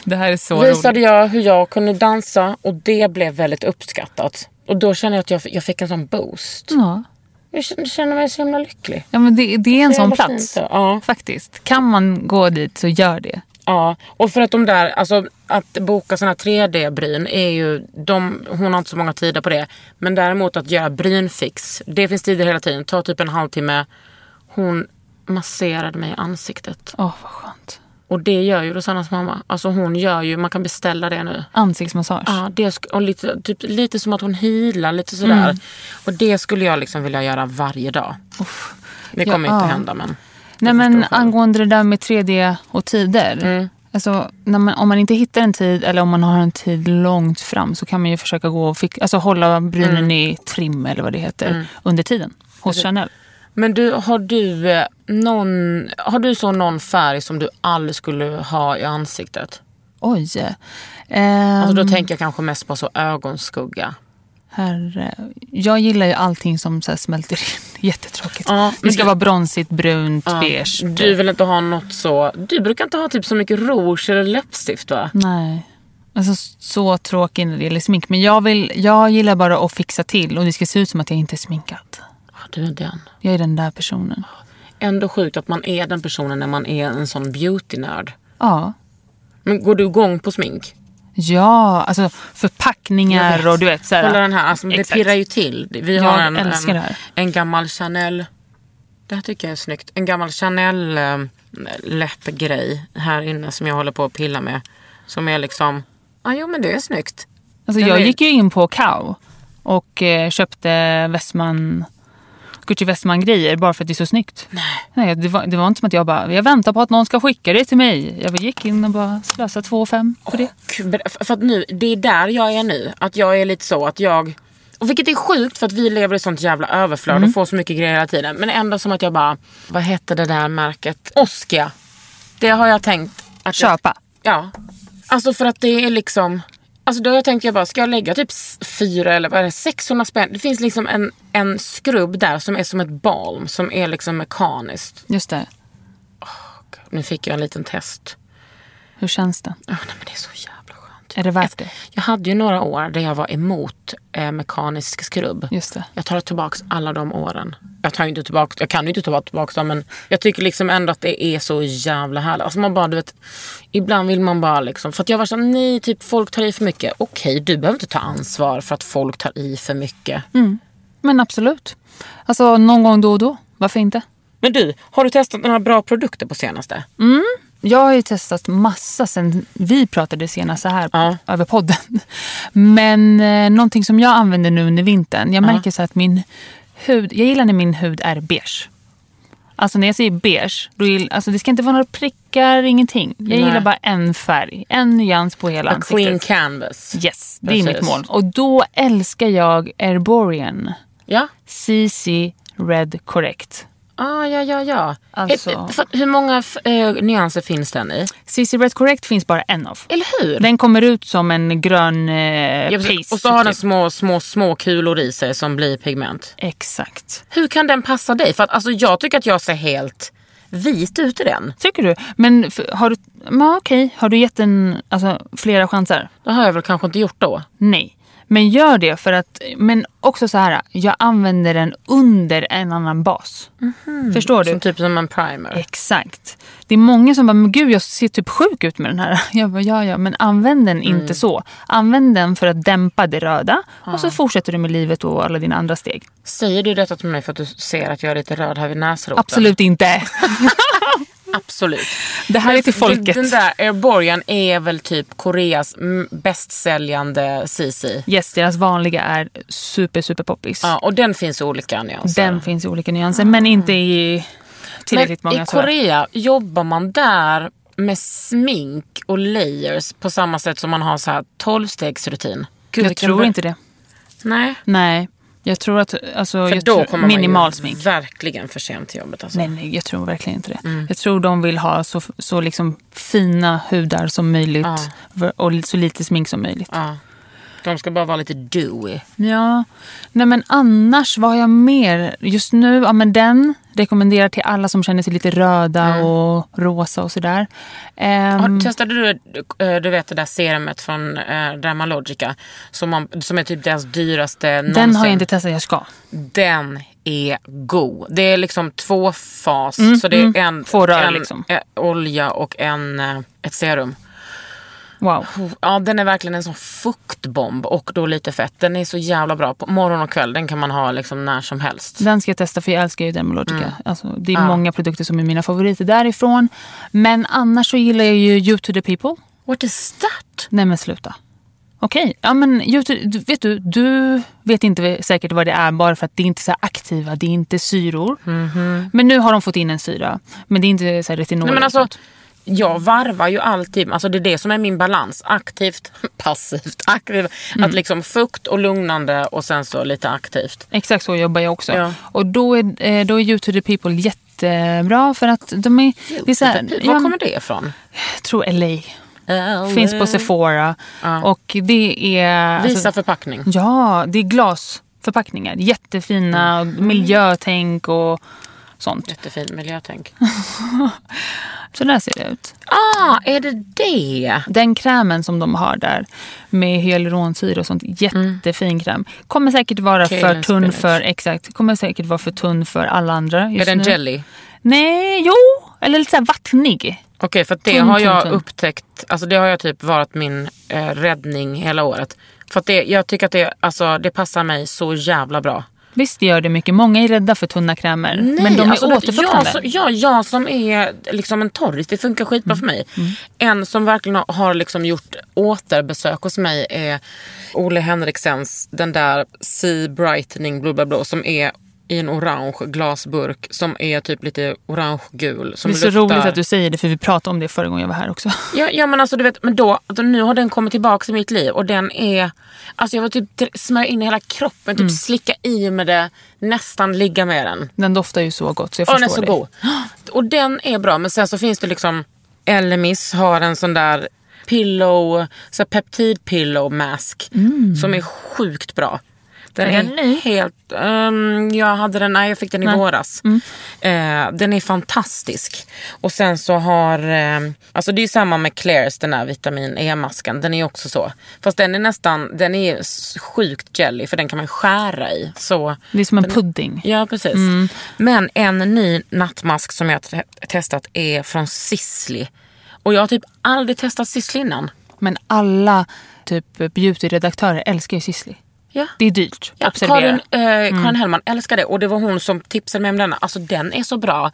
Speaker 3: Det här är så
Speaker 2: visade jag hur jag kunde dansa och det blev väldigt uppskattat. Och då känner jag att jag, jag fick en sån boost.
Speaker 3: Ja.
Speaker 2: Jag känner- känner mig så himla lycklig.
Speaker 3: Ja, men det, det är en
Speaker 2: Så
Speaker 3: sån
Speaker 2: jävla
Speaker 3: plats.
Speaker 2: fint då. Ja.
Speaker 3: Faktiskt. Kan man gå dit så gör det.
Speaker 2: Ja, och för att de där, alltså att boka såna 3D-bryn är ju, de, hon har inte så många tider på det. Men däremot att göra brynfix, det finns tider hela tiden. Ta typ en halvtimme. Hon masserade mig i ansiktet.
Speaker 3: Åh, vad skönt.
Speaker 2: Och det gör ju Rosannas mamma. Alltså hon gör ju, man kan beställa det nu.
Speaker 3: Ansiktsmassage.
Speaker 2: Ja, det sk- och lite, typ, lite som att hon healar, lite sådär.
Speaker 3: Mm.
Speaker 2: Och det skulle jag liksom vilja göra varje dag. Det
Speaker 3: Ja,
Speaker 2: kommer ju inte
Speaker 3: ja.
Speaker 2: hända men.
Speaker 3: Nej, men angående det där med 3D och tider.
Speaker 2: Mm.
Speaker 3: Alltså, när man, om man inte hittar en tid eller om man har en tid långt fram så kan man ju försöka gå och fick, alltså, hålla brynen
Speaker 2: Mm.
Speaker 3: i trim eller vad det heter under tiden hos Chanel.
Speaker 2: Men du, har du eh, någon, har du så någon färg som du aldrig skulle ha i ansiktet?
Speaker 3: Oj. Ehm,
Speaker 2: Alltså då tänker jag kanske mest på så ögonskugga.
Speaker 3: herre. Jag gillar ju allting som så här smälter in. Jättetråkigt.
Speaker 2: Ja,
Speaker 3: det
Speaker 2: men
Speaker 3: ska
Speaker 2: du-
Speaker 3: vara bronsigt, brunt, beige. typ.
Speaker 2: Du vill inte ha något så, du brukar inte ha typ så mycket rouge eller läppstift va?
Speaker 3: Nej. Alltså så tråkig när det gäller smink. Men jag, vill, jag gillar bara att fixa till och det ska se ut som att jag inte är sminkad.
Speaker 2: Ja, du är den.
Speaker 3: Jag är den där personen.
Speaker 2: Ändå sjukt att man är den personen när man är en sån beauty-nörd.
Speaker 3: Ja.
Speaker 2: Men går du igång på smink?
Speaker 3: Ja, alltså förpackningar
Speaker 2: Jag vet.
Speaker 3: och du vet så här.
Speaker 2: Kolla den här, alltså, det
Speaker 3: Exakt.
Speaker 2: pirrar ju till. Vi
Speaker 3: Jag
Speaker 2: har en,
Speaker 3: älskar
Speaker 2: en,
Speaker 3: det här.
Speaker 2: en gammal Chanel, det här tycker jag är snyggt, en gammal Chanel eh, läppgrej här inne som jag håller på att pilla med. Som är liksom, ja ah, jo men det är snyggt.
Speaker 3: Alltså,
Speaker 2: Jag
Speaker 3: jag
Speaker 2: vet.
Speaker 3: gick ju in på Kao och eh, köpte Westman, Gucci Westman-grejer bara för att det är så snyggt. Nej. det, var, det var inte som att jag bara, jag väntar på att någon ska skicka det till mig. Jag bara gick in och bara slösade två och fem på det.
Speaker 2: Gud, men För för att nu, det är där jag är nu, att jag är lite så att jag och vilket är sjukt för att vi lever i sånt jävla överflöd
Speaker 3: Mm.
Speaker 2: och får så mycket grejer hela tiden. Men ändå som att jag bara, vad hette det där märket? Oskia. Det har jag tänkt att jag
Speaker 3: Köpa.
Speaker 2: Ja. Alltså för att det är liksom... Alltså då har jag tänkt, jag bara, ska jag lägga typ s- fyra eller vad är det, 600 spänn? Det finns liksom en, en skrubb där som är som ett balm, som är liksom mekaniskt.
Speaker 3: Just det.
Speaker 2: Nu fick jag en liten test.
Speaker 3: Hur känns det?
Speaker 2: Åh, nej, men det är så jävla skönt.
Speaker 3: Är det värt det?
Speaker 2: Jag hade ju några år där jag var emot eh, mekanisk skrubb.
Speaker 3: Just det.
Speaker 2: Jag tar tillbaka alla de åren. Jag, tar ju inte tillbaka, jag kan ju inte ta tillbaka dem men jag tycker liksom ändå att det är så jävla härligt. Alltså man bara, du vet, ibland vill man bara liksom, för att jag var såhär, nej typ folk tar i för mycket. Okej, du behöver inte ta ansvar för att folk tar i för mycket.
Speaker 3: Men absolut. Alltså någon gång då och då. Varför inte?
Speaker 2: Men du, har du testat några bra produkter på senaste?
Speaker 3: Jag har ju testat massa sen vi pratade senast så här
Speaker 2: Ja.
Speaker 3: över podden. Men eh, någonting som jag använder nu under vintern, jag märker så här att min hud, jag gillar när min hud är beige. Alltså när jag säger beige, då gill, alltså det ska inte vara några prickar, ingenting. Jag gillar bara en färg, en nyans på hela
Speaker 2: A
Speaker 3: ansiktet.
Speaker 2: clean canvas.
Speaker 3: Yes, det är mitt
Speaker 2: Precis.
Speaker 3: mål. Och då älskar jag Erborian
Speaker 2: Ja.
Speaker 3: CC Red Correct.
Speaker 2: Ah, ja, ja, ja.
Speaker 3: Alltså-
Speaker 2: Eh, för- Hur många f- eh, nyanser finns den i?
Speaker 3: CC Red Correct finns bara en av.
Speaker 2: Eller hur?
Speaker 3: Den kommer ut som en grön eh,
Speaker 2: Ja, precis.
Speaker 3: paste.
Speaker 2: och så har den
Speaker 3: typ.
Speaker 2: små, små, små kulor i sig som blir pigment.
Speaker 3: Exakt.
Speaker 2: Hur kan den passa dig? För att, alltså, jag tycker att jag ser helt vit ut i den.
Speaker 3: Tycker du? Men f- har du, men okej, har du gett den alltså, flera chanser?
Speaker 2: Det har jag väl kanske inte gjort då.
Speaker 3: Nej. Men gör det för att, men också så här, jag använder den under en annan bas. Förstår du?
Speaker 2: Som typ som en primer.
Speaker 3: Exakt. Det är många som bara, men gud jag ser typ sjuk ut med den här. Jag bara, ja ja, men använd den
Speaker 2: Mm.
Speaker 3: inte så. Använd den för att dämpa det röda och
Speaker 2: Ah.
Speaker 3: så fortsätter du med livet och alla dina andra steg.
Speaker 2: Säger du detta till mig för att du ser att jag är lite röd här vid näsroten?
Speaker 3: Absolut inte.
Speaker 2: Absolut.
Speaker 3: Det här är till folket.
Speaker 2: Den, den där Airborgen är väl typ Koreas mm, bästsäljande CC.
Speaker 3: Yes, deras vanliga är super, super poppis.
Speaker 2: Ja, och den finns i olika nyanser.
Speaker 3: Den finns i olika nyanser, men inte i tillräckligt
Speaker 2: Ah. Men
Speaker 3: många.
Speaker 2: i
Speaker 3: tror jag.
Speaker 2: Korea, jobbar man där med smink och layers på samma sätt som man har så här 12-stegsrutin? Gud,
Speaker 3: jag
Speaker 2: vilken
Speaker 3: tror
Speaker 2: bra-
Speaker 3: inte det.
Speaker 2: Nej.
Speaker 3: Nej, jag tror att... Alltså,
Speaker 2: För
Speaker 3: jag
Speaker 2: då
Speaker 3: tror,
Speaker 2: kommer
Speaker 3: minimal
Speaker 2: man ju
Speaker 3: smink.
Speaker 2: verkligen för Mm. sent till jobbet. Alltså.
Speaker 3: Nej, nej, jag tror verkligen inte det. Jag tror de vill ha så, så liksom fina hudar som möjligt och så lite smink som möjligt.
Speaker 2: Ja. De ska bara vara lite dewy.
Speaker 3: Ja, nej men annars, vad har jag mer? Just nu, ja men den, Rekommenderar till alla som känner sig lite röda och rosa och sådär. Ehm,
Speaker 2: Mm. Har, testade du, eh, du vet det där serumet från eh, Dermalogica som, man, som är typ deras dyraste någonsin.
Speaker 3: den har jag inte testat, jag ska.
Speaker 2: Den är god. Det är liksom två fas. så det är en,
Speaker 3: Två rör
Speaker 2: en
Speaker 3: liksom.
Speaker 2: eh, olja och en, eh, ett serum.
Speaker 3: Wow.
Speaker 2: Ja, den är verkligen en sån fuktbomb och då lite fett. Den är så jävla bra. På morgon och kväll, den kan man ha liksom när som helst.
Speaker 3: Den ska jag testa för jag älskar ju Dermalogica.
Speaker 2: Mm.
Speaker 3: Alltså, det
Speaker 2: Ah.
Speaker 3: är många produkter som är mina favoriter därifrån. Men annars så gillar jag ju You to the people.
Speaker 2: What is that?
Speaker 3: Nej men sluta. Okej, ja men You to- du- vet du, du vet inte säkert vad det är bara för att det är inte så här aktiva, det är inte syror. Men nu har de fått in en syra. Men det är inte så här retinol
Speaker 2: Mhm. Nej, men
Speaker 3: och
Speaker 2: alltså,
Speaker 3: sånt.
Speaker 2: jag varvar ju alltid. Alltså, det är det som är min balans. Aktivt, passivt, aktivt.
Speaker 3: Mm.
Speaker 2: Att liksom fukt och lugnande och sen så lite aktivt.
Speaker 3: Exakt så jobbar jag också.
Speaker 2: Ja.
Speaker 3: Och då är, eh, då är You to the people jättebra för att de är... Det är så här,
Speaker 2: Var
Speaker 3: ja,
Speaker 2: kommer det ifrån?
Speaker 3: Jag tror LA. Oh, Finns på Sephora.
Speaker 2: Ja.
Speaker 3: Och det är... alltså-
Speaker 2: Visa förpackning.
Speaker 3: Ja, det är glasförpackningar. Jättefina,
Speaker 2: Mm.
Speaker 3: och miljötänk och sånt.
Speaker 2: Jättefin miljötänk.
Speaker 3: Så där ser det ut.
Speaker 2: ah, är det det?
Speaker 3: Den krämen som de har där med hyaluronsyra och sånt, jättefin kräm. Kommer säkert vara
Speaker 2: Kale
Speaker 3: för
Speaker 2: and
Speaker 3: tunn
Speaker 2: Mm. spinach.
Speaker 3: för, exakt, kommer säkert vara för tunn för alla andra
Speaker 2: Är
Speaker 3: just
Speaker 2: det en
Speaker 3: nu.
Speaker 2: jelly?
Speaker 3: Nej, jo! Eller lite såhär vattnig.
Speaker 2: Okej, för att det
Speaker 3: Tunn,
Speaker 2: har
Speaker 3: tunn,
Speaker 2: jag
Speaker 3: tunn.
Speaker 2: upptäckt, alltså det har jag typ varit min eh, räddning hela året. För att det, jag tycker att det, alltså, det passar mig så jävla bra.
Speaker 3: Visst gör det mycket. Många är rädda för tunna krämer. men de är
Speaker 2: alltså, vet du, jag,
Speaker 3: återfuktande.
Speaker 2: som- ja, jag som är liksom en torris, det funkar skitbra
Speaker 3: Mm.
Speaker 2: för mig. En som verkligen har, har liksom gjort återbesök hos mig är Ole Henriksens, den där Sea Brightening bla bla bla, som är i en orange glasburk som är typ lite orange-gul. Som
Speaker 3: Det är så
Speaker 2: luktar-
Speaker 3: roligt att du säger det för vi pratade om det förra gången jag var här också.
Speaker 2: Ja, ja men alltså du vet, men då, alltså, nu har den kommit tillbaka i mitt liv och den är, alltså jag vill typ dr- smörja in i hela kroppen,
Speaker 3: Mm.
Speaker 2: typ slicka i med det, nästan ligga med den.
Speaker 3: Den doftar ju så gott så jag
Speaker 2: Och den är
Speaker 3: förstår
Speaker 2: så
Speaker 3: dig.
Speaker 2: god. Och den är bra, men sen så finns det liksom, Elemis har en sån där pillow, så här peptid pillow mask
Speaker 3: Mm.
Speaker 2: som är sjukt bra. Den är helt, ehm, jag hade den, nej jag fick den i våras.
Speaker 3: Mm.
Speaker 2: Eh, den är fantastisk. Och sen så har, ehm, alltså det är ju samma med Claire's den där vitamin E-masken, den är ju också så. Fast den är nästan, den är s- sjukt jelly för den kan man ju skära i. Så
Speaker 3: Det är som en pudding.
Speaker 2: Ja, precis. Mm. Men en ny nattmask som jag te- testat är från Sisley. Och jag har typ aldrig testat Sisley innan.
Speaker 3: Men alla typ beautyredaktörer älskar ju Sisley.
Speaker 2: Ja.
Speaker 3: Det är dyrt.
Speaker 2: Ja,
Speaker 3: Observera.
Speaker 2: Karin, eh, Karin Hellman älskar det och det var hon som tipsade mig om denna. Alltså den är så bra.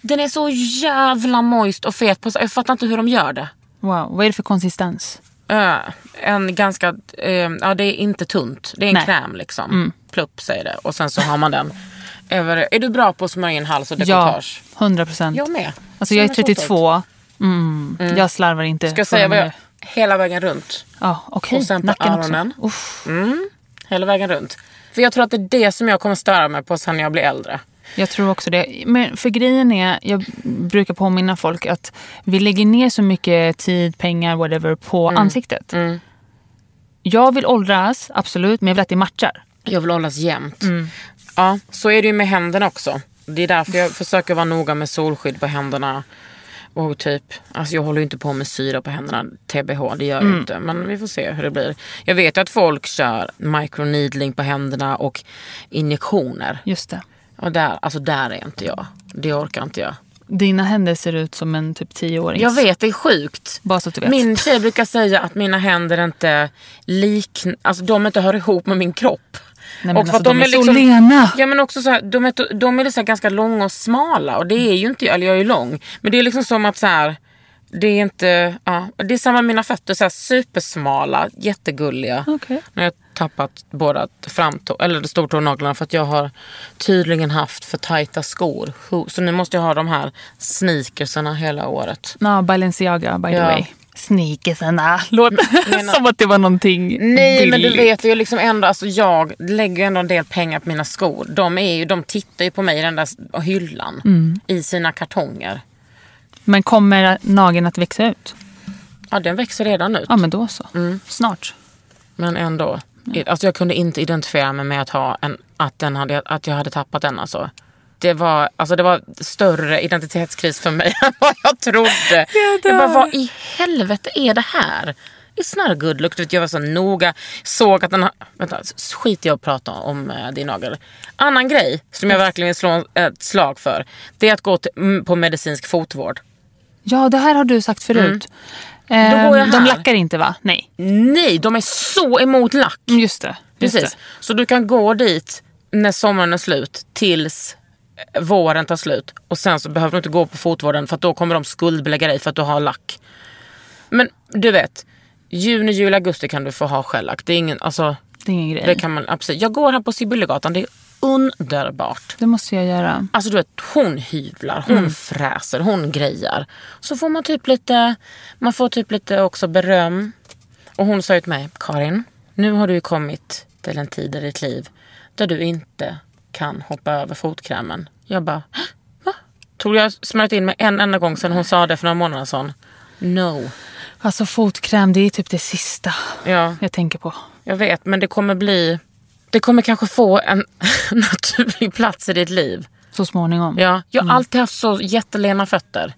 Speaker 2: Den är så jävla moist och fet. På, jag fattar inte hur de gör det.
Speaker 3: Wow, vad är det för konsistens?
Speaker 2: Eh, en ganska, eh, ja det är inte tunt. Det är en
Speaker 3: Nej.
Speaker 2: kräm liksom. Plupp säger det och sen så har man den. Över, är du bra på att smörja in hals och
Speaker 3: Ja,
Speaker 2: dekolletage?
Speaker 3: 100 procent.
Speaker 2: Jag med.
Speaker 3: Alltså jag är
Speaker 2: Känner så
Speaker 3: 32. Mm. Jag slarvar inte.
Speaker 2: Ska jag säga vad jag... Hela vägen runt.
Speaker 3: Ja, okej.
Speaker 2: Och sen Mm. på
Speaker 3: Nacken
Speaker 2: öronen.
Speaker 3: också. Uff.
Speaker 2: Hela vägen runt. För jag tror att det är det som jag kommer störa mig på sen när jag blir äldre.
Speaker 3: Jag tror också det. Men för grejen är, jag brukar påminna folk att vi lägger ner så mycket tid, pengar, whatever på
Speaker 2: Mm.
Speaker 3: ansiktet. Jag vill åldras, absolut, men jag vill att det matchar.
Speaker 2: Jag vill hållas jämnt. Mm. Ja, så är det ju med händerna också. Det är därför jag försöker vara noga med solskydd på händerna. Och typ, alltså jag håller ju inte på med syra på händerna, TBH, det gör jag inte. Men vi får se hur det blir. Jag vet ju att folk kör microneedling på händerna och injektioner.
Speaker 3: Just det.
Speaker 2: Och där, alltså där är inte jag. Det orkar inte jag.
Speaker 3: Dina händer ser ut som en typ 10-årings.
Speaker 2: Jag vet, det är sjukt.
Speaker 3: Bara så att du vet.
Speaker 2: Min tjej brukar säga att mina händer inte liknar, alltså de inte hör ihop med min kropp.
Speaker 3: men
Speaker 2: Och för
Speaker 3: alltså,
Speaker 2: att liksom-
Speaker 3: de är så lena.
Speaker 2: Ja men också så här, de är, de är liksom ganska långa och smala och det är ju inte jag, eller jag är ju lång. Men det är liksom som att så här, det är inte, ja, det är samma med mina fötter, så här supersmala, jättegulliga.
Speaker 3: Okej.
Speaker 2: Nu har jag tappat båda framtå, eller stortånaglarna för att jag har tydligen haft för tajta skor. Så nu måste jag ha de här sneakersarna hela året.
Speaker 3: Ja, Balenciaga by the
Speaker 2: Ja.
Speaker 3: way. Sneakersarna. Låt
Speaker 2: men-
Speaker 3: som att det var någonting
Speaker 2: Nej
Speaker 3: billigt.
Speaker 2: men du vet ju liksom ändå, alltså jag lägger ju ändå en del pengar på mina skor. De, är ju, de tittar ju på mig i den där s- hyllan i sina kartonger.
Speaker 3: Men kommer nageln att växa ut?
Speaker 2: Ja den växer redan ut.
Speaker 3: Ja, men då så.
Speaker 2: Mm.
Speaker 3: Snart.
Speaker 2: Men ändå. I- Alltså jag kunde inte identifiera mig med att, ha en, att, den hade, att jag hade tappat den alltså. det var, alltså det var större identitetskris för mig än vad jag trodde. Jag bara, vad i helvete är det här? It's not a good look. Du vet, jag var så noga. Såg att den här... Vänta, skit i att prata om eh, din nagel. Annan grej som jag verkligen vill slå ett slag för. Det är att gå till, mm, på medicinsk fotvård.
Speaker 3: Ja, det här har du sagt förut.
Speaker 2: Mm. Då går jag
Speaker 3: Eh, de
Speaker 2: här. Mm.
Speaker 3: lackar inte va? Nej.
Speaker 2: Nej, de är så emot lack.
Speaker 3: Mm, Just det. Just
Speaker 2: Precis.
Speaker 3: Det.
Speaker 2: Så du kan gå dit när sommaren är slut tills eh, våren tar slut. Och sen så behöver du inte gå på fotvården för att då kommer de skuldbelägga dig för att du har lack. Men du vet, juni, juli, augusti kan du få ha skällack. Det är ingen, alltså,
Speaker 3: det är ingen grej.
Speaker 2: det kan man absolut. Jag går här på Sibyllegatan, det är underbart.
Speaker 3: det måste jag göra.
Speaker 2: Alltså du vet, hon hyvlar, hon fräser, hon grejar. Så får man typ lite, man får typ lite också beröm. Och hon sa ju till mig, Karin, nu har du ju kommit till en tid i ditt liv där du inte kan hoppa över fotkrämen. Jag bara, "Hä? va? Tror jag smörjt in mig en enda gång sedan hon sa det för några månader sedan. No.
Speaker 3: Alltså fotkräm, det är typ det sista
Speaker 2: Ja,
Speaker 3: jag tänker på.
Speaker 2: jag vet, men det kommer bli, det kommer kanske få en naturlig plats i ditt liv.
Speaker 3: Så småningom.
Speaker 2: Ja, jag har alltid haft så jättelena fötter.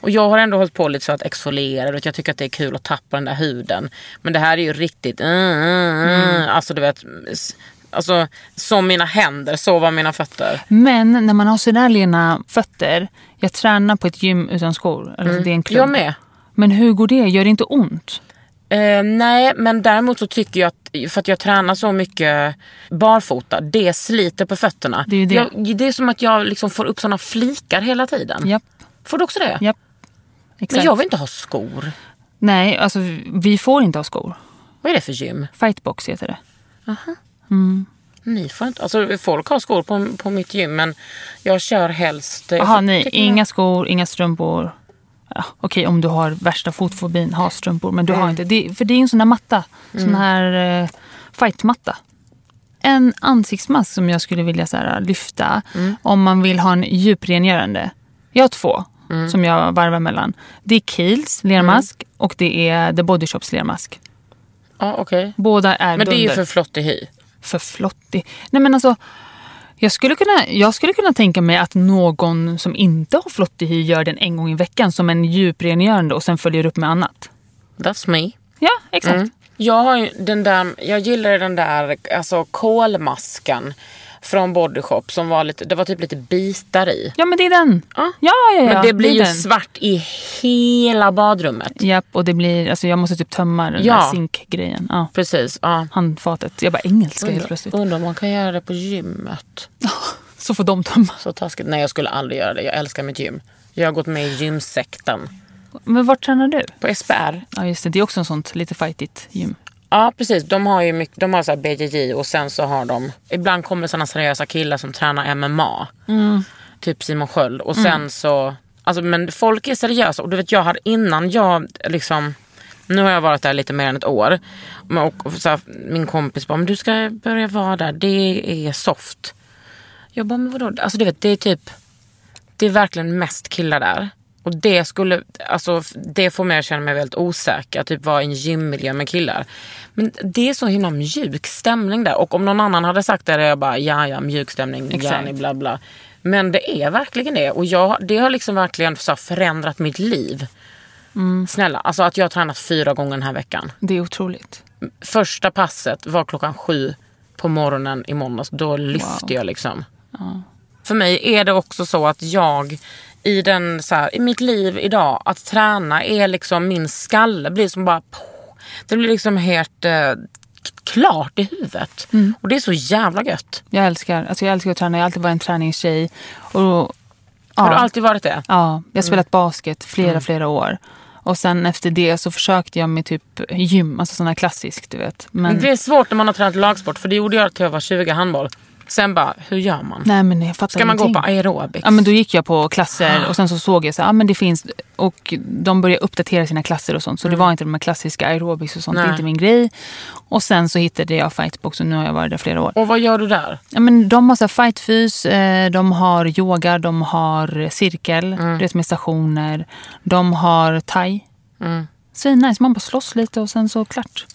Speaker 2: Och jag har ändå hållit på lite så att exfoliera och jag tycker att det är kul att tappa den där huden. Men det här är ju riktigt... Mm, mm, mm. Alltså du vet, s- alltså, som mina händer, så var mina fötter.
Speaker 3: Men när man har sådär lena fötter. Jag tränar på ett gym utan skor. Alltså, Det är en
Speaker 2: Mm. Jag
Speaker 3: klump.
Speaker 2: med.
Speaker 3: Men hur går det? Gör det inte ont?
Speaker 2: Eh, nej, men däremot så tycker jag att för att jag tränar så mycket barfota, det sliter på fötterna.
Speaker 3: Det är ju det.
Speaker 2: Jag, det är som att jag liksom får upp såna flikar hela tiden.
Speaker 3: Japp,
Speaker 2: Får du också det?
Speaker 3: japp. Exakt.
Speaker 2: men Mm. jag vill inte ha skor.
Speaker 3: Nej, alltså vi får inte ha skor.
Speaker 2: Vad är det för gym?
Speaker 3: Fightbox heter det.
Speaker 2: Ni får inte, alltså folk har skor på, på mitt gym men jag kör helst... eh,
Speaker 3: Jaha,
Speaker 2: jag
Speaker 3: nej.
Speaker 2: tycker-
Speaker 3: Inga skor, inga strumpor. Ja, Okej, om du har värsta fotfobin, ha strumpor. Men du
Speaker 2: Mm.
Speaker 3: har inte. Det, för det är ju en sån där matta. Sån här eh, fightmatta. En ansiktsmask som jag skulle vilja så här, eh, lyfta
Speaker 2: Mm.
Speaker 3: om man vill ha en djuprengörande. Jag har två
Speaker 2: Mm.
Speaker 3: som jag varvar mellan. Det är Kiehl's lermask och det är The Body Shops lermask.
Speaker 2: Ja, okej.
Speaker 3: Båda är
Speaker 2: Men det är ju
Speaker 3: dunder
Speaker 2: för flottig hy.
Speaker 3: för flottig. Nej men alltså, jag skulle, kunna, jag skulle kunna tänka mig att någon som inte har flottig hy gör den en gång i veckan som en djuprengörande och sen följer upp med annat.
Speaker 2: That's me.
Speaker 3: Ja, exakt.
Speaker 2: Mm. Jag, har ju den där, jag gillar den där alltså, kolmasken från Body Shop som var lite, det var typ lite bitar i.
Speaker 3: Ja men det är den.
Speaker 2: Ja.
Speaker 3: Ja, ja, ja.
Speaker 2: Men det blir
Speaker 3: är
Speaker 2: ju
Speaker 3: den.
Speaker 2: svart i hela badrummet.
Speaker 3: Japp, och det blir, alltså jag måste typ tömma den
Speaker 2: Ja.
Speaker 3: där zinkgrejen. Ja,
Speaker 2: Precis, ja.
Speaker 3: handfatet. Jag bara engelska helt plötsligt.
Speaker 2: Undrar om man kan göra det på gymmet.
Speaker 3: Så får de tömma.
Speaker 2: Så taskigt. Nej jag skulle aldrig göra det. Jag älskar mitt gym. Jag har gått med i gymsekten.
Speaker 3: Men vart tränar du?
Speaker 2: På SPR.
Speaker 3: Ja just det, det är också en sånt lite fightigt gym.
Speaker 2: Ja precis, de har ju mycket, de har så här BJJ och sen så har de, ibland kommer det sådana seriösa killar som tränar MMA. Typ Simon Sköld och sen så, alltså men folk är seriösa och du vet jag hade innan jag liksom nu har jag varit där lite mer än ett år. Men- Och och så här, min kompis bara, men du ska börja vara där, det är soft. Jag bara, men vadå? Alltså du vet, det är typ, det är verkligen mest killar där. Och det skulle, alltså f- det får mig att känna mig väldigt osäker, typ vara i en gymmiljö med killar. Men det är så himla mjuk stämning där och om någon annan hade sagt det hade jag bara, ja ja mjuk stämning,
Speaker 3: Exakt.
Speaker 2: gärna bla bla. Men det är verkligen det och jag, det har liksom verkligen så här förändrat mitt liv. Snälla, alltså att jag har tränat fyra gånger den här veckan.
Speaker 3: Det är otroligt.
Speaker 2: Första passet var klockan sju på morgonen i måndags. Då lyfte jag liksom. För mig är det också så att jag i, den, så här, i mitt liv idag, att träna är liksom min skalle blir som bara... Det blir liksom helt eh, klart i huvudet.
Speaker 3: Mm.
Speaker 2: Och det är så jävla gött.
Speaker 3: Jag älskar, alltså jag älskar att träna. Jag har alltid varit en träningstjej. Och, ja.
Speaker 2: Har du alltid varit det?
Speaker 3: Ja,
Speaker 2: Mm.
Speaker 3: jag har spelat basket flera, flera år. Och sen efter det så försökte jag med typ gym, alltså sån här klassisk du vet. Men,
Speaker 2: Det är svårt när man har tränat lagsport för det gjorde jag till jag var 20 handboll. Sen bara, hur gör man?
Speaker 3: nej men jag fattar
Speaker 2: Ska man gå
Speaker 3: ingenting.
Speaker 2: på aerobics?
Speaker 3: Ja men då gick jag på klasser och sen så såg jag så här, ah, men det finns och de började uppdatera sina klasser och sånt. Så det var inte de här klassiska aerobics och sånt, det
Speaker 2: Mm. Nej.
Speaker 3: är inte min grej. Och sen så hittade jag fightbox och nu har jag varit där flera år.
Speaker 2: Och vad gör du där?
Speaker 3: Ja, men de har så här fightfys, eh, de har yoga, de har cirkel, du vet med
Speaker 2: Mm.
Speaker 3: stationer. De har thai. Mm. Svinnice, man bara slåss lite och sen så klart.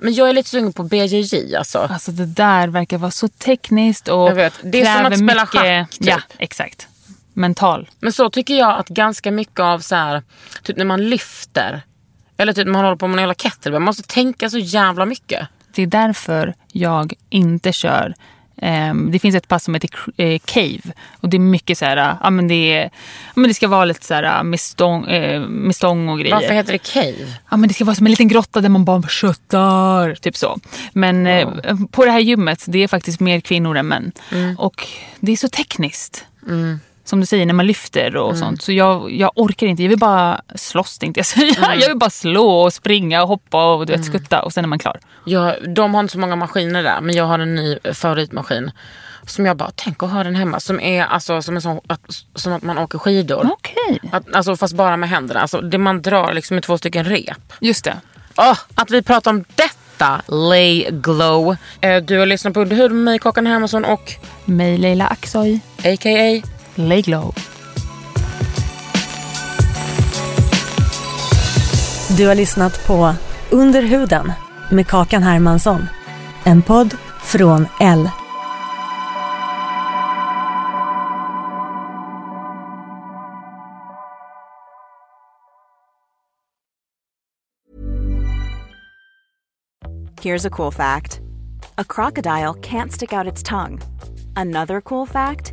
Speaker 2: Men jag är lite sugen på BJJ alltså.
Speaker 3: Alltså det där verkar vara så tekniskt och
Speaker 2: Jag vet. Det är som
Speaker 3: kräver
Speaker 2: att spela
Speaker 3: mycket,
Speaker 2: schack, typ.
Speaker 3: Ja, exakt. Mental.
Speaker 2: Men så tycker jag att ganska mycket av så här, typ när man lyfter eller typ när man håller på med en jävla kettlebell. Man måste tänka så jävla mycket.
Speaker 3: Det är därför jag inte kör. ehm, det finns ett pass som heter cr- eh, Cave. Och det är mycket så här, ah, ja men det, är, ja, men det ska vara lite så här ah, med stång, eh, med stång och grejer.
Speaker 2: Varför heter det cave?
Speaker 3: ja, men det ska vara som en liten grotta där man bara köttar. Typ så. Men eh, på det här gymmet, det är faktiskt mer kvinnor än män. Och det är så tekniskt. Som du säger, när man lyfter och sånt. Så jag, jag orkar inte. Jag vill bara slåss tänkte jag säga. Jag vill bara slå och springa och hoppa och du vet, skutta. Och sen är man klar.
Speaker 2: Jag, de har inte så många maskiner där men jag har en ny favoritmaskin. Som jag bara, tänk att ha den hemma. Som är alltså som, en sån, att, som att man åker skidor.
Speaker 3: Okej.
Speaker 2: Att, alltså fast bara med händerna. Alltså, det man drar liksom i två stycken rep.
Speaker 3: Just det.
Speaker 2: Åh, att vi pratar om detta, Lay Glow. Eh, du har lyssnat på Under huden med mig, Kakan Hermansson och
Speaker 3: Mig Leila Aksoy.
Speaker 2: a.k.a.
Speaker 3: Leglow.
Speaker 1: Du har lyssnat på Under huden med Kakan Hermansson. En podd från L.
Speaker 6: Here's a cool fact a crocodile can't stick out its tongue. Another cool fact